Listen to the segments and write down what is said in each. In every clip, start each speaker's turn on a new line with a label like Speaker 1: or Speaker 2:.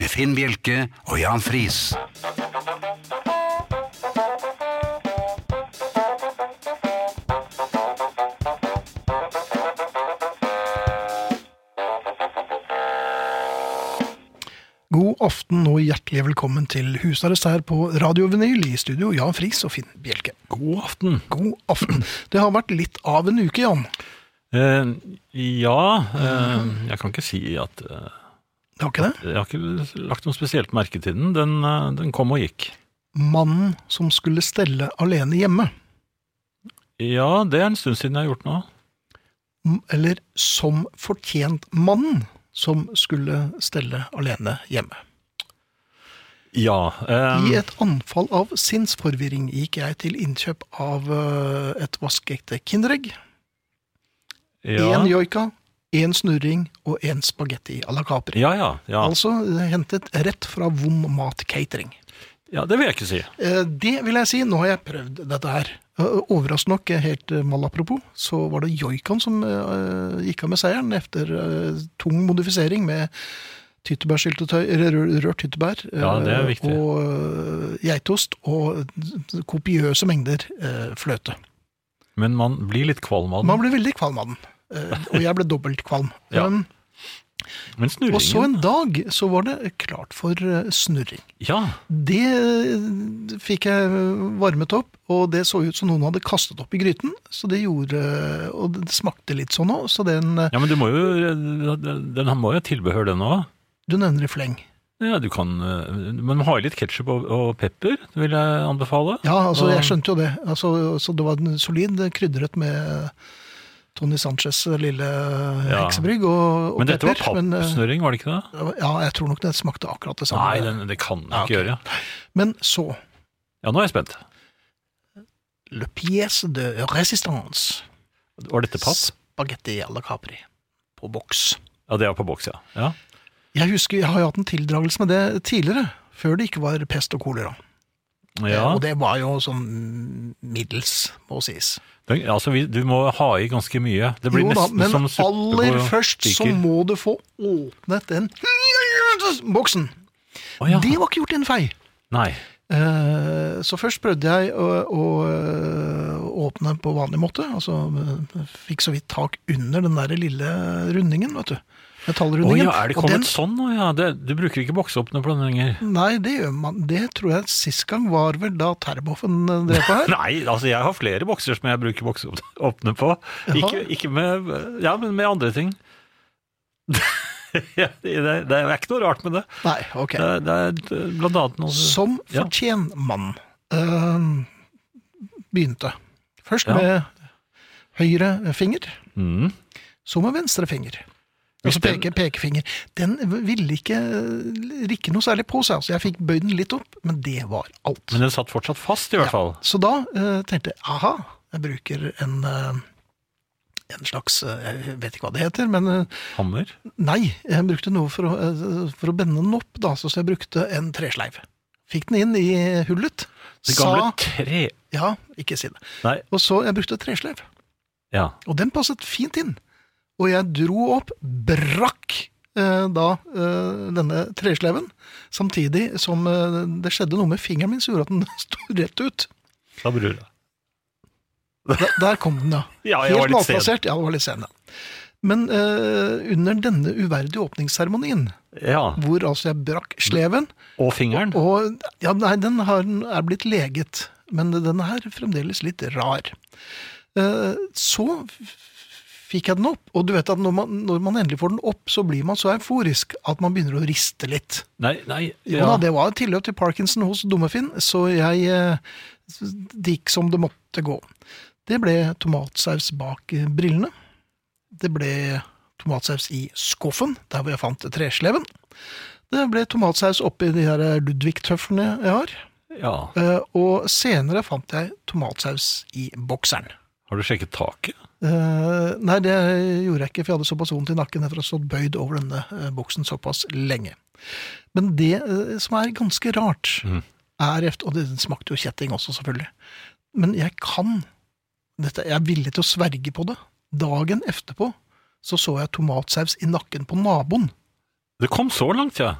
Speaker 1: med Finn Bjelke og Jan Friis.
Speaker 2: God aften og hjertelig velkommen til husarrest her på Radio Vinyl i studio, Jan Friis og Finn Bjelke.
Speaker 3: God aften.
Speaker 2: God aften. Det har vært litt av en uke, Jan.
Speaker 3: Eh, ja, eh, jeg kan ikke si at eh,
Speaker 2: Det har ikke det?
Speaker 3: Jeg har ikke lagt noe spesielt merke til den. Den, eh, den kom og gikk.
Speaker 2: Mannen som skulle stelle alene hjemme,
Speaker 3: Ja, det er en stund siden jeg har gjort nå.
Speaker 2: m- eller som fortjent mannen som skulle stelle alene hjemme.
Speaker 3: Ja. Eh,
Speaker 2: I et anfall av sinnsforvirring gikk jeg til innkjøp av eh, et vaskeekte Kinderegg.
Speaker 3: ja.
Speaker 2: Én joika, én snurring og én spagetti à la Capri.
Speaker 3: Ja, ja, ja.
Speaker 2: Altså eh, hentet rett fra Vom Mat Catering.
Speaker 3: ja. Det vil jeg ikke si.
Speaker 2: Eh, Det vil jeg si. Nå har jeg prøvd dette her. Eh, Overraskende nok, eh, helt eh, malapropos, så var det joikaen som eh, gikk av med seieren etter eh, tung modifisering med tyttebærsyltetøy, eller rø- rørt tyttebær, eh,
Speaker 3: Ja, det er viktig.
Speaker 2: og eh, geitost og eh, kopiøse mengder eh, fløte.
Speaker 3: Men man blir litt kvalm av
Speaker 2: Man
Speaker 3: den.
Speaker 2: ble veldig kvalm av den, eh, og jeg ble dobbelt kvalm.
Speaker 3: Ja.
Speaker 2: Men-
Speaker 3: Men
Speaker 2: og så en
Speaker 3: snurringen
Speaker 2: dag så var det klart for eh, snurring.
Speaker 3: Ja.
Speaker 2: Det eh, fikk jeg varmet opp, og det så ut som noen hadde kastet opp i gryten. Så det gjorde Og det smakte litt sånn òg, så den
Speaker 3: ja, men du må jo Den må jo ha tilbehør, den òg.
Speaker 2: Du nevner i fleng.
Speaker 3: Ja, du kan eh, Men ha i litt ketsjup og, og pepper, det vil jeg anbefale.
Speaker 2: Ja, altså,
Speaker 3: Og-
Speaker 2: jeg skjønte jo det. Altså, så det var en solid krydret med Tony Sanchez' lille eh,
Speaker 3: Ja.
Speaker 2: heksebrygg og, og
Speaker 3: Men dette var
Speaker 2: pepper, men, eh,
Speaker 3: pappsnurring, var det ikke det?
Speaker 2: Ja, jeg tror nok det smakte akkurat det samme.
Speaker 3: Nei, den, det kan jeg
Speaker 2: Ja,
Speaker 3: ikke gjøre.
Speaker 2: Men så
Speaker 3: Ja, nå er jeg spent.
Speaker 2: Le pièce de résistance.
Speaker 3: Var dette papp?
Speaker 2: Spagetti à la Capri. På boks.
Speaker 3: Ja, det er på boks, ja. ja.
Speaker 2: Jeg husker, jeg har jo hatt en tildragelse med det tidligere, før det ikke var pest og kolera.
Speaker 3: Eh, ja.
Speaker 2: Og det var jo sånn middels, må sies.
Speaker 3: Den- Altså, vi, du må ha i ganske mye. Det blir
Speaker 2: Jo da,
Speaker 3: nesten
Speaker 2: men
Speaker 3: som suppe
Speaker 2: aller
Speaker 3: på
Speaker 2: først så
Speaker 3: spiker.
Speaker 2: må du få åpnet den boksen.
Speaker 3: Å, ja.
Speaker 2: Det var ikke gjort i en fei.
Speaker 3: Nei.
Speaker 2: Eh, Så først prøvde jeg å, å eh, åpne på vanlig måte. Altså eh, fikk så vidt tak under den der lille rundingen, vet du.
Speaker 3: Å
Speaker 2: Metallrundingen.
Speaker 3: ja, er det
Speaker 2: Og
Speaker 3: kommet
Speaker 2: den-
Speaker 3: sånn nå? Ja, det, du bruker ikke bokseåpner på den lenger.
Speaker 2: Nei, det gjør man. Det tror jeg sist gang var vel da Terboven eh, drev på her.
Speaker 3: Nei, altså jeg har flere bokser som jeg bruker bokseåpner på.
Speaker 2: Jaha.
Speaker 3: Ikke, ikke med Ja, men med andre ting. Ja, det, det, det er ikke noe rart med det.
Speaker 2: Nei, ok.
Speaker 3: Det, det er blant annet noe
Speaker 2: Som
Speaker 3: Eh, Ja.
Speaker 2: fortjent mann eh, begynte. Først
Speaker 3: Ja.
Speaker 2: med høyre finger,
Speaker 3: mm.
Speaker 2: så med venstre finger.
Speaker 3: Hvis
Speaker 2: Altså
Speaker 3: den-
Speaker 2: peke, pekefinger. Den ville ikke eh, rikke noe særlig på seg. Altså, jeg fikk bøyd den litt opp, men det var alt.
Speaker 3: Men den satt fortsatt fast, i hvert fall.
Speaker 2: Så da eh, tenkte jeg aha, jeg bruker en, eh, en slags eh, Jeg vet ikke hva det heter, men eh,
Speaker 3: Hammer.
Speaker 2: Nei, jeg brukte noe for å, eh, for å bende den opp, da, så jeg brukte en tresleiv. Fikk den inn i hullet.
Speaker 3: Det gamle
Speaker 2: Sa
Speaker 3: tre...
Speaker 2: Ja, ikke si det.
Speaker 3: Nei,
Speaker 2: Og så jeg brukte tresleiv,
Speaker 3: ja.
Speaker 2: og den passet fint inn. Og jeg dro opp, brakk eh, da eh, denne tresleiven, samtidig som eh, det skjedde noe med fingeren min som gjorde at den sto rett ut.
Speaker 3: Da bror jeg.
Speaker 2: Der, der kom den, ja.
Speaker 3: Ja, jeg
Speaker 2: Helt
Speaker 3: var litt sen.
Speaker 2: malplassert. Ja, det var litt sen, ja. Men eh, under denne uverdige åpningsseremonien,
Speaker 3: Ja.
Speaker 2: hvor altså jeg brakk sleven
Speaker 3: Og fingeren.
Speaker 2: Og, ja, nei, den har, er blitt leget, men den er fremdeles litt rar. Eh, Så f- fikk jeg den opp, og du vet at når man, når man endelig får den opp, så blir man så euforisk at man begynner å riste litt.
Speaker 3: Nei, nei.
Speaker 2: Jo da, det var et tilløp til Parkinson hos Dummefinn, så jeg eh, det gikk som det måtte gå. Det ble tomatsaus bak eh, brillene. Det ble tomatsaus i skuffen, der hvor jeg fant tresleven. Det ble tomatsaus oppi de her Ludvig-tøflene jeg har.
Speaker 3: Ja.
Speaker 2: Eh, Og senere fant jeg tomatsaus i bokseren.
Speaker 3: Har du sjekket taket?
Speaker 2: Eh, nei, det gjorde jeg ikke, for jeg hadde såpass vondt i nakken etter å ha stått bøyd over denne eh, boksen såpass lenge. Men det eh, som er ganske rart,
Speaker 3: Mm.
Speaker 2: er efter, Og det smakte jo kjetting også, selvfølgelig. Men jeg kan dette, Jeg er villig til å sverge på det. Dagen etterpå så så jeg tomatsaus i nakken på naboen.
Speaker 3: Det kom så langt, ja.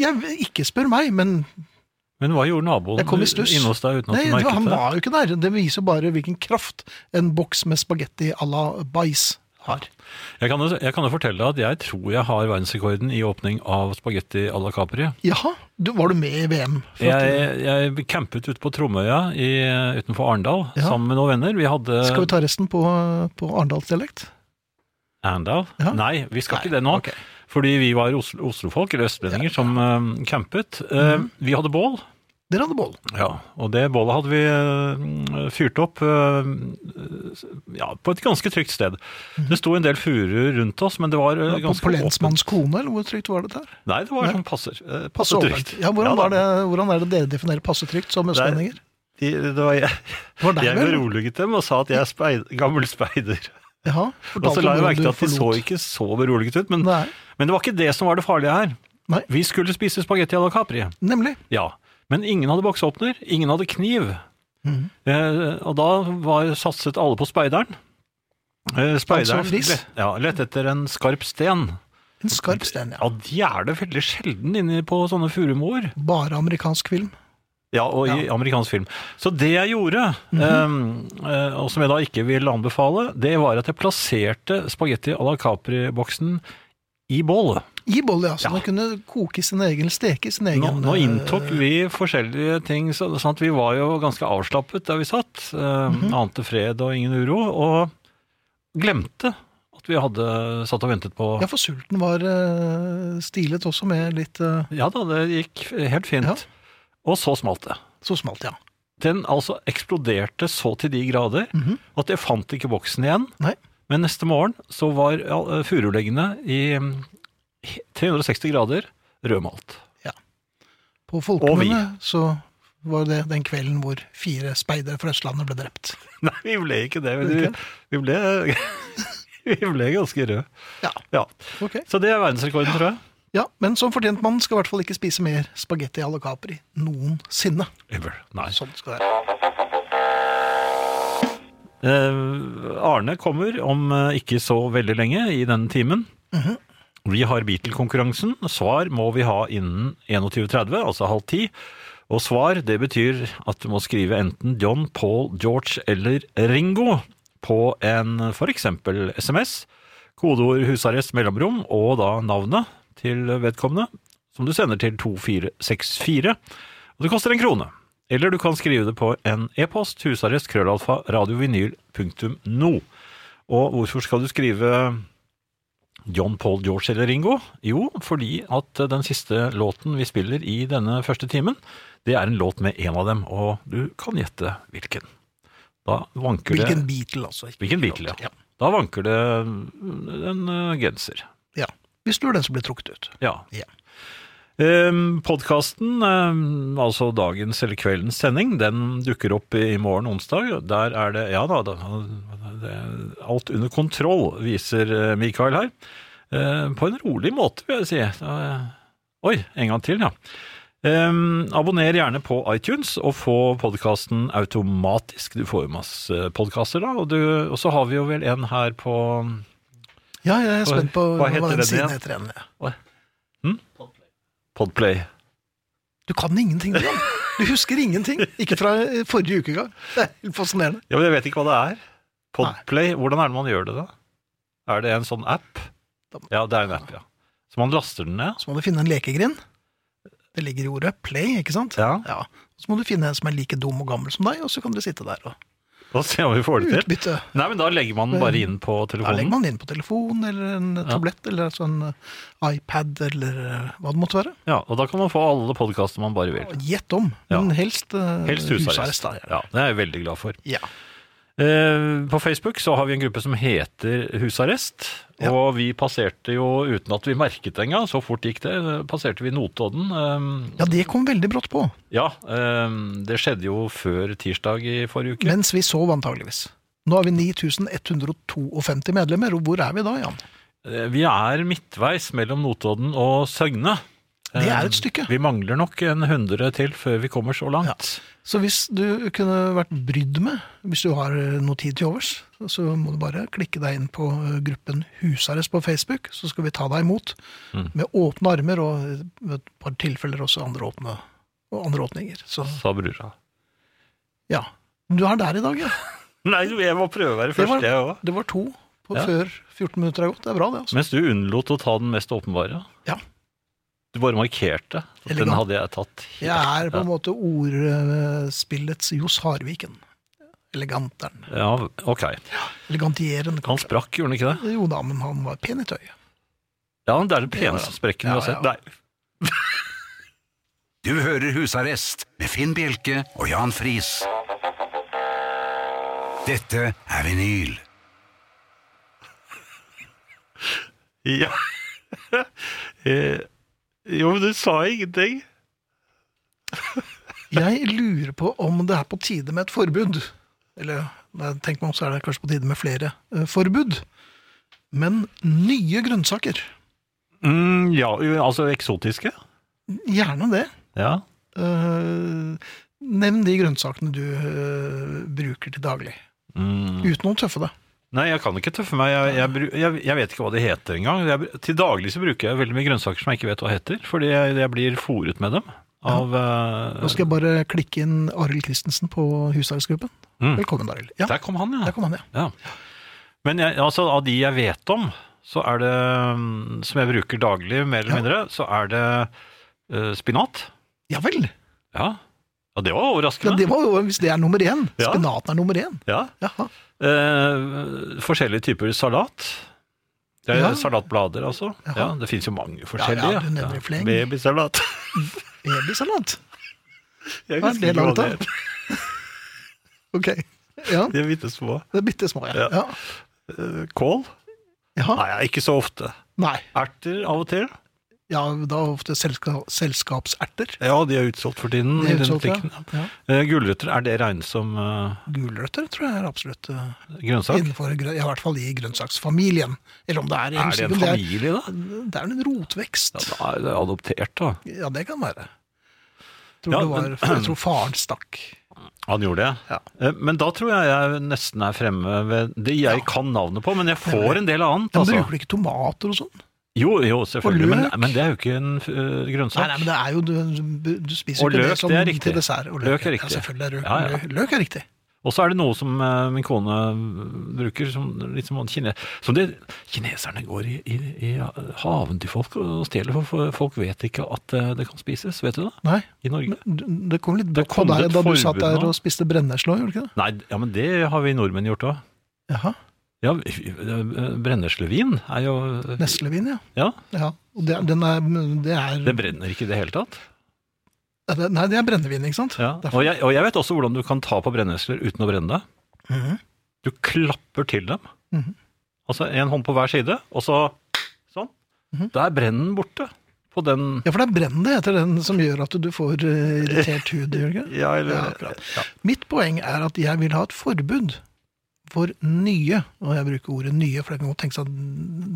Speaker 2: Jeg, ikke spør meg, men
Speaker 3: Men hva gjorde naboen
Speaker 2: Jeg kom i stuss.
Speaker 3: inne hos deg uten at
Speaker 2: Nei,
Speaker 3: du
Speaker 2: det var,
Speaker 3: merket
Speaker 2: han
Speaker 3: det?
Speaker 2: var jo ikke der. Det viser bare hvilken kraft en boks med spagetti à la bais har.
Speaker 3: Jeg kan, jo- jeg kan jo fortelle deg at jeg tror jeg har verdensrekorden i åpning av spagetti à la Capri.
Speaker 2: Jaha, du, var du med i VM? For at-
Speaker 3: Jeg, jeg campet ute på Tromøya i, utenfor Arendal
Speaker 2: Ja.
Speaker 3: sammen med noen venner. Vi hadde
Speaker 2: Skal vi ta resten på, på Arendalsdialekt?
Speaker 3: Arendal?
Speaker 2: Ja.
Speaker 3: Nei, vi skal
Speaker 2: Nei,
Speaker 3: ikke det nå.
Speaker 2: ok.
Speaker 3: Fordi vi var Oslo, Oslofolk, eller østlendinger, som eh, campet. Eh,
Speaker 2: Mhm.
Speaker 3: Vi hadde bål,
Speaker 2: Dere hadde bål.
Speaker 3: ja, og det bålet hadde vi eh, fyrt opp eh, s- ja, på et ganske trygt sted. Det sto en del furuer rundt oss, men det var
Speaker 2: Mhm.
Speaker 3: eh,
Speaker 2: På,
Speaker 3: ganske
Speaker 2: på
Speaker 3: åpent.
Speaker 2: lensmanns kone, eller hvor trygt var det der?
Speaker 3: Nei, det var
Speaker 2: Nei.
Speaker 3: sånn passer, eh,
Speaker 2: Passe
Speaker 3: passer
Speaker 2: åpent.
Speaker 3: trygt.
Speaker 2: Ja, hvordan,
Speaker 3: da.
Speaker 2: var det, hvordan er det dere definerer passe trygt som østlendinger?
Speaker 3: De, det var jeg
Speaker 2: Det var deg,
Speaker 3: jeg
Speaker 2: vel?
Speaker 3: beroliget dem og sa at jeg er speid, gammel speider.
Speaker 2: Jaha,
Speaker 3: Og så la jeg
Speaker 2: hvordan
Speaker 3: merke
Speaker 2: du
Speaker 3: til at de så
Speaker 2: forlot.
Speaker 3: ikke så beroliget ut, men,
Speaker 2: Nei,
Speaker 3: men det var ikke det som var det farlige her.
Speaker 2: Nei.
Speaker 3: Vi skulle spise spagetti à la Capri,
Speaker 2: nemlig.
Speaker 3: ja. Men ingen hadde boksåpner, ingen hadde kniv.
Speaker 2: Mhm.
Speaker 3: Eh, og da var, satset alle på speideren. Eh, speideren
Speaker 2: Altså fris?
Speaker 3: lett, ja, lett etter en skarp sten.
Speaker 2: En skarp sten, ja.
Speaker 3: Ja, de er det veldig sjelden inne på sånne furumoer.
Speaker 2: Bare amerikansk film.
Speaker 3: Ja, og i amerikansk film. Så det jeg gjorde,
Speaker 2: Mhm.
Speaker 3: eh, eh, og som jeg da ikke vil anbefale, det var at jeg plasserte spagetti à la Capri-boksen i bålet.
Speaker 2: I boll, ja. Så
Speaker 3: Ja.
Speaker 2: den kunne koke i sin egen, steke i sin egen
Speaker 3: Nå, nå
Speaker 2: eh,
Speaker 3: inntok vi forskjellige ting, så, sånn at vi var jo ganske avslappet der vi satt. Eh,
Speaker 2: Mhm.
Speaker 3: Ante fred og ingen uro, og glemte at vi hadde satt og ventet på
Speaker 2: Ja, for sulten var eh, stilet også med litt eh,
Speaker 3: Ja da, det gikk helt fint.
Speaker 2: Ja.
Speaker 3: Og så smalt det.
Speaker 2: Så smalt, ja.
Speaker 3: Den altså eksploderte så til de grader
Speaker 2: Mhm.
Speaker 3: at jeg fant ikke boksen igjen.
Speaker 2: Nei.
Speaker 3: Men neste morgen så var ja, furuleggene i mm, 360 grader rødmalt.
Speaker 2: På
Speaker 3: Og vi.
Speaker 2: Folkemunne så var det den kvelden hvor fire speidere fra Østlandet ble drept.
Speaker 3: Nei, vi ble ikke det. men Vi, vi, ble, vi ble ganske røde.
Speaker 2: Ja,
Speaker 3: Ja.
Speaker 2: ok.
Speaker 3: Så det er verdensrekorden, tror jeg.
Speaker 2: Ja, Men som fortjent mann skal i hvert fall ikke spise mer spagetti à la Capri noensinne.
Speaker 3: Ever. Nei.
Speaker 2: Sånn skal det være.
Speaker 3: Eh, Arne kommer om eh, ikke så veldig lenge i denne timen. Vi har Beatle-konkurransen. Svar må vi ha innen 21.30, altså halv ti. Og svar, det betyr at du må skrive enten John, Paul, George eller Ringo på en f.eks. SMS. Kodeord 'husarrest mellomrom' og da navnet til vedkommende, som du sender til 2464. Og det koster en krone. Eller du kan skrive det på en e-post, husarrest, krøllalfa, radiovinyl.no. Og hvorfor skal du skrive John Paul George eller Ringo? Jo, fordi at eh, den siste låten vi spiller i denne første timen, det er en låt med en av dem, og du kan gjette hvilken. Da vanker
Speaker 2: Hvilken
Speaker 3: det
Speaker 2: Beatle, altså. ikke
Speaker 3: Hvilken Beatle, ja. Da vanker det en eh, genser.
Speaker 2: ja. Hvis du er den som blir trukket ut.
Speaker 3: Ja.
Speaker 2: Ja.
Speaker 3: Ehm, Podkasten, ehm, altså dagens eller kveldens sending, den dukker opp i i morgen onsdag. Der er det Ja da, da det, alt under kontroll, viser eh, Mikael her. Ehm, På en rolig måte, vil jeg si. Da- Oi, en gang til, ja. Ehm, abonner gjerne på iTunes og få podkasten automatisk. Du får jo masse podkaster da, og, du, og så har vi jo vel en her på
Speaker 2: Ja, jeg er
Speaker 3: Hva-
Speaker 2: spent på
Speaker 3: hva heter den
Speaker 2: siden
Speaker 3: igjen?
Speaker 2: heter igjen. ja.
Speaker 3: Podplay.
Speaker 2: Du kan ingenting, du. Jan. Du husker ingenting. Ikke fra eh, forrige uke engang. Det er helt fascinerende.
Speaker 3: Ja, men jeg vet ikke hva det er. Podplay, hvordan er det man gjør det da? Er det en sånn app? Ja, det er en app, ja. Så man laster den ned?
Speaker 2: Så må du finne en lekegrind. Det ligger i ordet play, ikke sant?
Speaker 3: Ja.
Speaker 2: Så må du finne en som er like dum og gammel som deg, og så kan dere sitte der og
Speaker 3: Og se om vi får det til.
Speaker 2: utbytte.
Speaker 3: Nei, men da legger man den bare inn på
Speaker 2: Da legger
Speaker 3: telefonen.
Speaker 2: man det inn på telefon eller en tablett eller altså en eh, iPad eller eh, hva det måtte være.
Speaker 3: Ja, og da kan man få alle podkaster man bare vil.
Speaker 2: Gjett om, men
Speaker 3: Ja.
Speaker 2: helst, eh,
Speaker 3: Helst husarrest.
Speaker 2: da,
Speaker 3: Ja, det er jeg veldig glad for.
Speaker 2: Ja.
Speaker 3: Eh, På Facebook så har vi en gruppe som heter Husarrest.
Speaker 2: Ja.
Speaker 3: Og vi passerte jo, uten at vi merket det engang, så fort gikk det, eh, passerte vi Notodden. eh,
Speaker 2: Ja, det kom veldig brått på.
Speaker 3: Ja, eh, det skjedde jo før tirsdag i forrige uke.
Speaker 2: Mens vi sov antageligvis. Nå har vi 9152 medlemmer, og hvor er vi da, Jan?
Speaker 3: Eh, Vi er midtveis mellom Notodden og Søgne.
Speaker 2: Det er
Speaker 3: Eh,
Speaker 2: et stykke.
Speaker 3: Vi mangler nok en hundre til før vi kommer så langt.
Speaker 2: Så hvis du kunne vært brydd med, hvis du har eh, noe tid til overs, så må du bare klikke deg inn på eh, gruppen Husarrest på Facebook, så skal vi ta deg imot
Speaker 3: Mm.
Speaker 2: med åpne armer, og eh, ved et par tilfeller også andre, åpne, og andre åpninger. Så
Speaker 3: Sa brura.
Speaker 2: ja. Du er der i dag, ja.
Speaker 3: Nei, jeg må prøve å være
Speaker 2: Det var,
Speaker 3: først, jeg òg.
Speaker 2: det var to på,
Speaker 3: Ja.
Speaker 2: før 14 minutter er gått. Det er bra, det. altså.
Speaker 3: Mens du unnlot å ta den mest åpenbare.
Speaker 2: Ja.
Speaker 3: Du bare markerte. at Den
Speaker 2: Elegant.
Speaker 3: hadde jeg tatt helt.
Speaker 2: Jeg er på
Speaker 3: Ja.
Speaker 2: en måte ordspillets Johs Harviken. Eleganteren.
Speaker 3: Ja, ok.
Speaker 2: Elegantieren,
Speaker 3: Han
Speaker 2: kanskje.
Speaker 3: sprakk, gjorde han ikke det?
Speaker 2: Jo da, men han var pen i tøyet.
Speaker 3: Ja, det er den peneste sprekken du har
Speaker 2: Ja,
Speaker 3: sett.
Speaker 2: ja.
Speaker 3: Nei,
Speaker 1: Du hører Husarrest med Finn Bjelke og Jan Friis. Dette er vinyl.
Speaker 3: Ja. Eh, jo, men du sa ingenting.
Speaker 2: Jeg lurer på om det er på tide med et forbud. Eller nei, tenk meg om, så er det kanskje på tide med flere eh, forbud. Men nye grønnsaker.
Speaker 3: Mm, ja, jo, altså eksotiske.
Speaker 2: Gjerne det.
Speaker 3: Ja.
Speaker 2: Eh, nevn de grønnsakene du eh, bruker til daglig.
Speaker 3: Mm.
Speaker 2: Uten å tøffe deg.
Speaker 3: Nei, jeg kan ikke tøffe meg. Jeg, jeg, bru- jeg, jeg vet ikke hva de heter engang. Jeg, br- til daglig så bruker jeg veldig mye grønnsaker som jeg ikke vet hva heter, fordi jeg, jeg blir fòret med dem. Av, eh,
Speaker 2: Nå skal jeg bare klikke inn Arild Christensen på Husdagsgruppen.
Speaker 3: Mm.
Speaker 2: Velkommen, Arild. Ja,
Speaker 3: Der kom han, ja.
Speaker 2: der kom han, ja.
Speaker 3: Ja. Men jeg, altså, av de jeg vet om, så er det mm, Som jeg bruker daglig, mer eller
Speaker 2: Ja.
Speaker 3: mindre, så er det eh, spinat.
Speaker 2: Ja vel.
Speaker 3: Ja. ja, det var
Speaker 2: Ja,
Speaker 3: overraskende.
Speaker 2: det var jo, hvis det er nummer én.
Speaker 3: Ja.
Speaker 2: Spinaten er nummer én.
Speaker 3: Ja.
Speaker 2: Jaha.
Speaker 3: Eh, forskjellige typer salat. Det er
Speaker 2: Ja.
Speaker 3: Salatblader, altså.
Speaker 2: Jaha.
Speaker 3: Ja, det fins jo mange forskjellige.
Speaker 2: ja, du nevner fleng.
Speaker 3: Babysalat.
Speaker 2: Babysalat.
Speaker 3: Jeg
Speaker 2: Hva er
Speaker 3: husker
Speaker 2: det
Speaker 3: ikke hva
Speaker 2: laget
Speaker 3: det
Speaker 2: av?
Speaker 3: heter.
Speaker 2: Ok. Ja,
Speaker 3: De er bitte små.
Speaker 2: det er bitte små, ja.
Speaker 3: Ja.
Speaker 2: ja.
Speaker 3: Eh, Kål?
Speaker 2: Jaha.
Speaker 3: Nei, ikke så ofte.
Speaker 2: Nei.
Speaker 3: Erter av og til.
Speaker 2: Ja, da ofte selska selskapserter.
Speaker 3: Ja, de er utsolgt for tiden.
Speaker 2: Det er
Speaker 3: i denne
Speaker 2: utsolgt, ja.
Speaker 3: butikken.
Speaker 2: Ja.
Speaker 3: Eh, Gulrøtter, er det regnet som eh,
Speaker 2: Gulrøtter tror jeg er absolutt eh,
Speaker 3: grønnsak?
Speaker 2: innenfor grø- ja, i hvert fall i grønnsaksfamilien. Eller om det er, jeg
Speaker 3: Er
Speaker 2: husker
Speaker 3: det
Speaker 2: ikke om
Speaker 3: en familie, da?
Speaker 2: Det er en rotvekst.
Speaker 3: Ja, da er det adoptert, da.
Speaker 2: Ja, det kan være. Tror
Speaker 3: Ja,
Speaker 2: det var,
Speaker 3: men-
Speaker 2: jeg tror faren stakk.
Speaker 3: Han gjorde det?
Speaker 2: Ja.
Speaker 3: Eh, Men da tror jeg jeg nesten er fremme ved det jeg kan navnet på, men jeg får
Speaker 2: Nemlig.
Speaker 3: en del annet,
Speaker 2: Men
Speaker 3: altså.
Speaker 2: bruker du ikke tomater og sånn?
Speaker 3: Jo, jo, selvfølgelig, men,
Speaker 2: løk.
Speaker 3: men det er jo ikke en eh,
Speaker 2: Nei,
Speaker 3: grønnsak.
Speaker 2: nei, men det er jo, du, du spiser
Speaker 3: Og
Speaker 2: ikke
Speaker 3: løk,
Speaker 2: det som
Speaker 3: det er riktig.
Speaker 2: til dessert. Og
Speaker 3: Løk er riktig.
Speaker 2: Ja, selvfølgelig er løk,
Speaker 3: Ja, ja.
Speaker 2: løk- løk er riktig.
Speaker 3: Og så er det noe som eh, min kone bruker, som, litt som, han kine, som det, kineserne går i, i, i haven til folk og stjeler, for- for folk vet ikke at eh, det kan spises, vet du det,
Speaker 2: Nei,
Speaker 3: i Norge?
Speaker 2: men du- det kom litt
Speaker 3: Det
Speaker 2: brått på
Speaker 3: kom
Speaker 2: deg
Speaker 3: et
Speaker 2: da du
Speaker 3: forbud
Speaker 2: satt der
Speaker 3: nå.
Speaker 2: og spiste brenneslå, gjorde du ikke det?
Speaker 3: Nei, ja, men det har vi nordmenn gjort òg.
Speaker 2: Jaha,
Speaker 3: Ja, vi- eh, brenneslevin er jo eh,
Speaker 2: Neslevin, ja.
Speaker 3: Ja,
Speaker 2: ja. Og det, er- den er, det er,
Speaker 3: det brenner ikke i det hele tatt.
Speaker 2: er det- Nei, det er brennevin, ikke sant?
Speaker 3: Ja.
Speaker 2: Derfor-
Speaker 3: Og, jeg, og jeg vet også hvordan du kan ta på brennesler uten å brenne det.
Speaker 2: Mhm.
Speaker 3: Du klapper til dem.
Speaker 2: Mhm.
Speaker 3: Altså en hånd på hver side, og så sånn.
Speaker 2: Mhm.
Speaker 3: Der brenner den borte. På den
Speaker 2: Ja, for det er brennen det heter den som gjør at du får eh, irritert hud, gjør det ikke?
Speaker 3: Ja, eller
Speaker 2: Ja,
Speaker 3: ja,
Speaker 2: akkurat. Mitt poeng er at jeg vil ha et forbud for nye, og jeg bruker ordet nye, for det kan godt tenkes at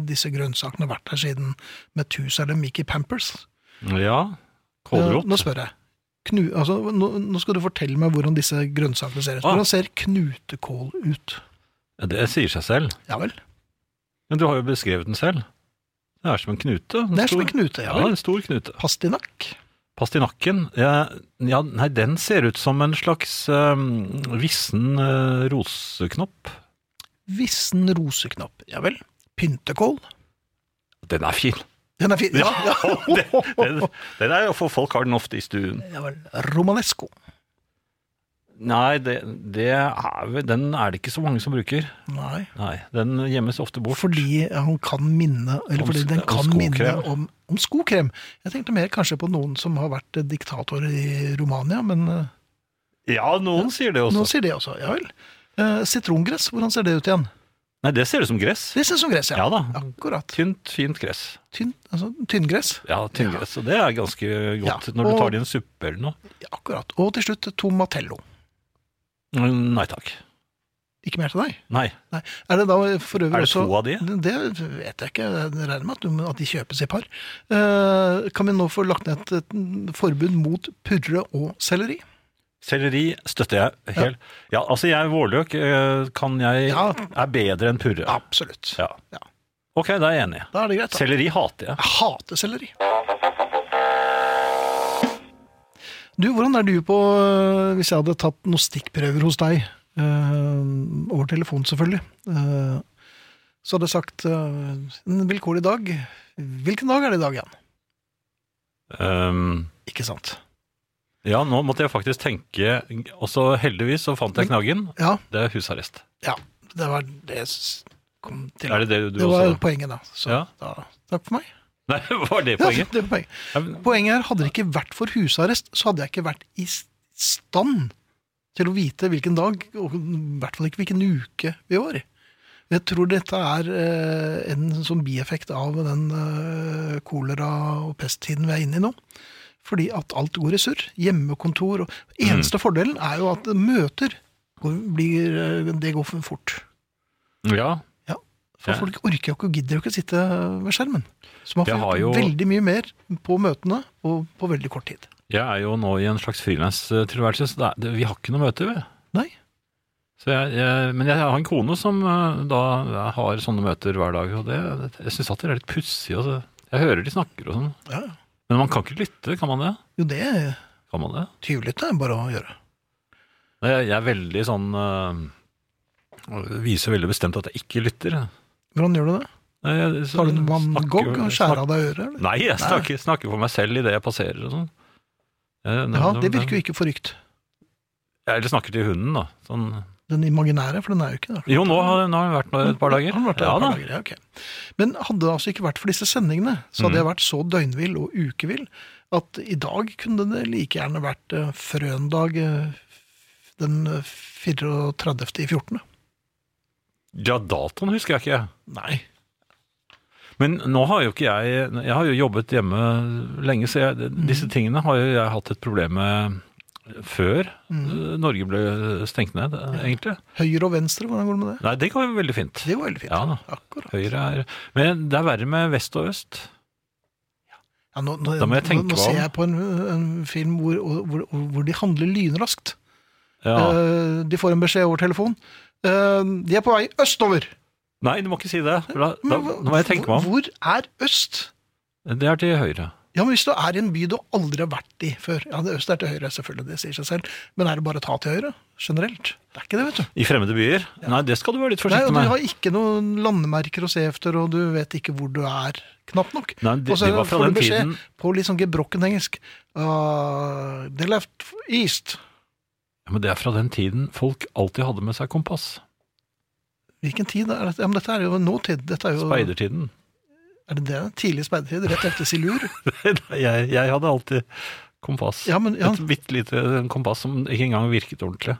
Speaker 2: disse grønnsakene har vært der siden Metusa eller Mickey Pampers.
Speaker 3: Kålrot.
Speaker 2: Eh, Nå spør jeg. Knu, altså, nå, nå skal du fortelle meg hvordan disse grønnsakene ser ut.
Speaker 3: Ah.
Speaker 2: Hvordan ser knutekål ut?
Speaker 3: Ja, det sier seg selv.
Speaker 2: Ja vel.
Speaker 3: Men du har jo beskrevet den selv. Det er som en knute. En
Speaker 2: Det er som
Speaker 3: stor-
Speaker 2: en knute, ja
Speaker 3: Ja,
Speaker 2: vel.
Speaker 3: en stor knute.
Speaker 2: Pastinakk.
Speaker 3: Pastinakken, ja, ja, nei, den ser ut som en slags øhm, vissen øh, roseknopp.
Speaker 2: Vissen roseknopp. Ja vel. Pyntekål.
Speaker 3: Den er fin.
Speaker 2: Den er fin. Ja, ja.
Speaker 3: Den, den er jo for folk har den ofte i stuen.
Speaker 2: ja vel. Romanesco.
Speaker 3: Nei, det, det er, vel- den er det ikke så mange som bruker.
Speaker 2: Nei.
Speaker 3: Nei, Den gjemmes ofte bort.
Speaker 2: Fordi eh, han kan minne Eller
Speaker 3: Om-
Speaker 2: fordi den
Speaker 3: om
Speaker 2: kan
Speaker 3: skokrem.
Speaker 2: minne om, om skokrem. Jeg tenkte mer kanskje på noen som har vært eh, diktator i Romania, men eh,
Speaker 3: Ja, noen sier det også.
Speaker 2: Noen sier det også, ja vel. Eh, sitrongress, hvordan ser det ut igjen?
Speaker 3: Nei, det ser ut som gress.
Speaker 2: Det ser ut som gress, ja.
Speaker 3: Ja da.
Speaker 2: Akkurat.
Speaker 3: Tynt, fint gress.
Speaker 2: Tynn, altså, tynngress.
Speaker 3: Ja, tynngress. Og det er ganske godt
Speaker 2: Ja,
Speaker 3: når du
Speaker 2: og-
Speaker 3: tar det i en suppe eller noe.
Speaker 2: Ja, akkurat. Og til slutt tomatello.
Speaker 3: Mm, Nei takk.
Speaker 2: Ikke mer til deg?
Speaker 3: Nei.
Speaker 2: Nei. Er det da for øvrig
Speaker 3: Er det
Speaker 2: også
Speaker 3: to av de?
Speaker 2: Det vet jeg ikke. Jeg regner med at, du, at de kjøpes i par. Eh, kan vi nå få lagt ned et, et forbud mot purre og selleri?
Speaker 3: Selleri støtter jeg helt. Ja, altså jeg vårløk eh, kan jeg
Speaker 2: Ja.
Speaker 3: er bedre enn purre.
Speaker 2: Absolutt.
Speaker 3: Ja.
Speaker 2: Ja.
Speaker 3: Ok, da er jeg enig.
Speaker 2: Da er det greit. Da.
Speaker 3: Selleri hater jeg.
Speaker 2: Jeg hater selleri. Du, hvordan er du på øh, Hvis jeg hadde tatt noen stikkprøver hos deg, øh, over telefon selvfølgelig, øh, så hadde jeg sagt øh, en vilkårlig dag. Hvilken dag er det i dag igjen?
Speaker 3: Ehm,
Speaker 2: Ikke sant?
Speaker 3: ja, nå måtte jeg faktisk tenke Også heldigvis så
Speaker 2: Mm.
Speaker 3: fant jeg knaggen.
Speaker 2: Ja,
Speaker 3: Det er husarrest.
Speaker 2: ja det var det jeg s- kom til.
Speaker 3: Er det det du
Speaker 2: det var
Speaker 3: også
Speaker 2: poenget, da. Så
Speaker 3: Ja.
Speaker 2: da, takk for meg.
Speaker 3: Nei, var det
Speaker 2: Ja,
Speaker 3: poenget?
Speaker 2: det var poenget.
Speaker 3: Ja, men-
Speaker 2: Poenget her, hadde det ikke vært for husarrest, så hadde jeg ikke vært i s- stand til å vite hvilken dag, og i hvert fall ikke hvilken uke vi var. i. Jeg tror dette er eh, en sånn bieffekt av den eh, kolera- og pesttiden vi er inne i nå. Fordi at alt går i surr. Hjemmekontor og
Speaker 3: Mm.
Speaker 2: Eneste fordelen er jo at møter går, blir, eh, det går for fort.
Speaker 3: Ja.
Speaker 2: Ja, for
Speaker 3: Ja.
Speaker 2: folk orker jo ikke og gidder jo ikke å sitte ved skjermen. Så man
Speaker 3: Jeg
Speaker 2: får
Speaker 3: har
Speaker 2: gjort
Speaker 3: jo-
Speaker 2: veldig mye mer på møtene og på veldig kort tid.
Speaker 3: Jeg er jo nå i en slags frilanstilværelse, så det er, det, vi har ikke noe møte, vi.
Speaker 2: Nei.
Speaker 3: Så jeg, jeg, men jeg har en kone som eh, da har sånne møter hver dag, og det, det, jeg syns alltid det er litt pussig. Altså. Jeg hører de snakker og sånn.
Speaker 2: Ja.
Speaker 3: Men man kan ikke lytte, kan man det?
Speaker 2: Jo, det er
Speaker 3: Kan man det?
Speaker 2: tyvlytt, det er bare å gjøre.
Speaker 3: Nei, Jeg, jeg er veldig sånn eh, Viser veldig bestemt at jeg ikke lytter.
Speaker 2: Hvordan gjør du det?
Speaker 3: Nei, jeg- så-
Speaker 2: Tar du en
Speaker 3: snakker-
Speaker 2: vanngogg og skjærer
Speaker 3: snak-
Speaker 2: av deg øret? Eller?
Speaker 3: Nei, jeg snakker, snakker for meg selv idet jeg passerer og sånn.
Speaker 2: Ja, det virker jo ikke forrykt.
Speaker 3: Eller snakker til hunden, da. Sånn.
Speaker 2: Den imaginære, for den er jo ikke det.
Speaker 3: Jo, nå har, nå har jeg vært der et par dager.
Speaker 2: Har den vært der
Speaker 3: ja,
Speaker 2: et par
Speaker 3: da.
Speaker 2: dager, ja, ok. Men hadde det altså ikke vært for disse sendingene, så
Speaker 3: Mm.
Speaker 2: hadde jeg vært så døgnvill og ukevill at i dag kunne det like gjerne vært eh, frøndag eh, den eh, 34. i 14.
Speaker 3: Ja, datoen husker jeg ikke.
Speaker 2: Nei.
Speaker 3: Men nå har jo ikke jeg Jeg har jo jobbet hjemme lenge, så jeg,
Speaker 2: Mhm.
Speaker 3: disse tingene har jo jeg hatt et problem med før
Speaker 2: Mhm.
Speaker 3: eh, Norge ble stengt ned, eh, egentlig.
Speaker 2: Høyre og venstre, hvordan går det med det?
Speaker 3: Nei, det går jo veldig fint.
Speaker 2: Det var veldig fint.
Speaker 3: Ja da.
Speaker 2: Akkurat.
Speaker 3: Høyre er Men det er verre med vest og øst.
Speaker 2: Ja, nå, nå,
Speaker 3: Da må jeg
Speaker 2: nå, nå
Speaker 3: tenke meg om.
Speaker 2: ser jeg på en, en film hvor, hvor, hvor, hvor de handler lynraskt.
Speaker 3: Ja.
Speaker 2: Eh, de får en beskjed over telefon. Eh, de er på vei østover.
Speaker 3: Nei, du må ikke si det. for Da, da,
Speaker 2: Men hva-
Speaker 3: nå må jeg tenke meg om.
Speaker 2: Hvor er øst?
Speaker 3: Det er til høyre.
Speaker 2: Ja, men Hvis du er i en by du aldri har vært i før Ja, det øst er til høyre, selvfølgelig. Det sier seg selv. Men er det bare å ta til høyre? Generelt? Det er ikke det, vet du.
Speaker 3: I fremmede byer? Nei, det skal du være litt
Speaker 2: Nei, og
Speaker 3: forsiktig
Speaker 2: Du har
Speaker 3: med.
Speaker 2: ikke noen landemerker å se efter, og du vet ikke hvor du er, knapt nok.
Speaker 3: Nei, de-
Speaker 2: og så
Speaker 3: de var fra
Speaker 2: får du
Speaker 3: den
Speaker 2: beskjed
Speaker 3: tiden-
Speaker 2: på litt sånn gebrokken engelsk uh, They left east.
Speaker 3: Ja, men det er fra den tiden folk alltid hadde med seg kompass.
Speaker 2: Hvilken tid er dette? Ja, men dette er jo nåtid. Dette er jo
Speaker 3: Speidertiden.
Speaker 2: Er det det? Tidlig speidertid, rett etter Silur.
Speaker 3: Nei, jeg, jeg hadde alltid kompass.
Speaker 2: Ja, men ja,
Speaker 3: Et bitte lite kompass som ikke engang virket ordentlig.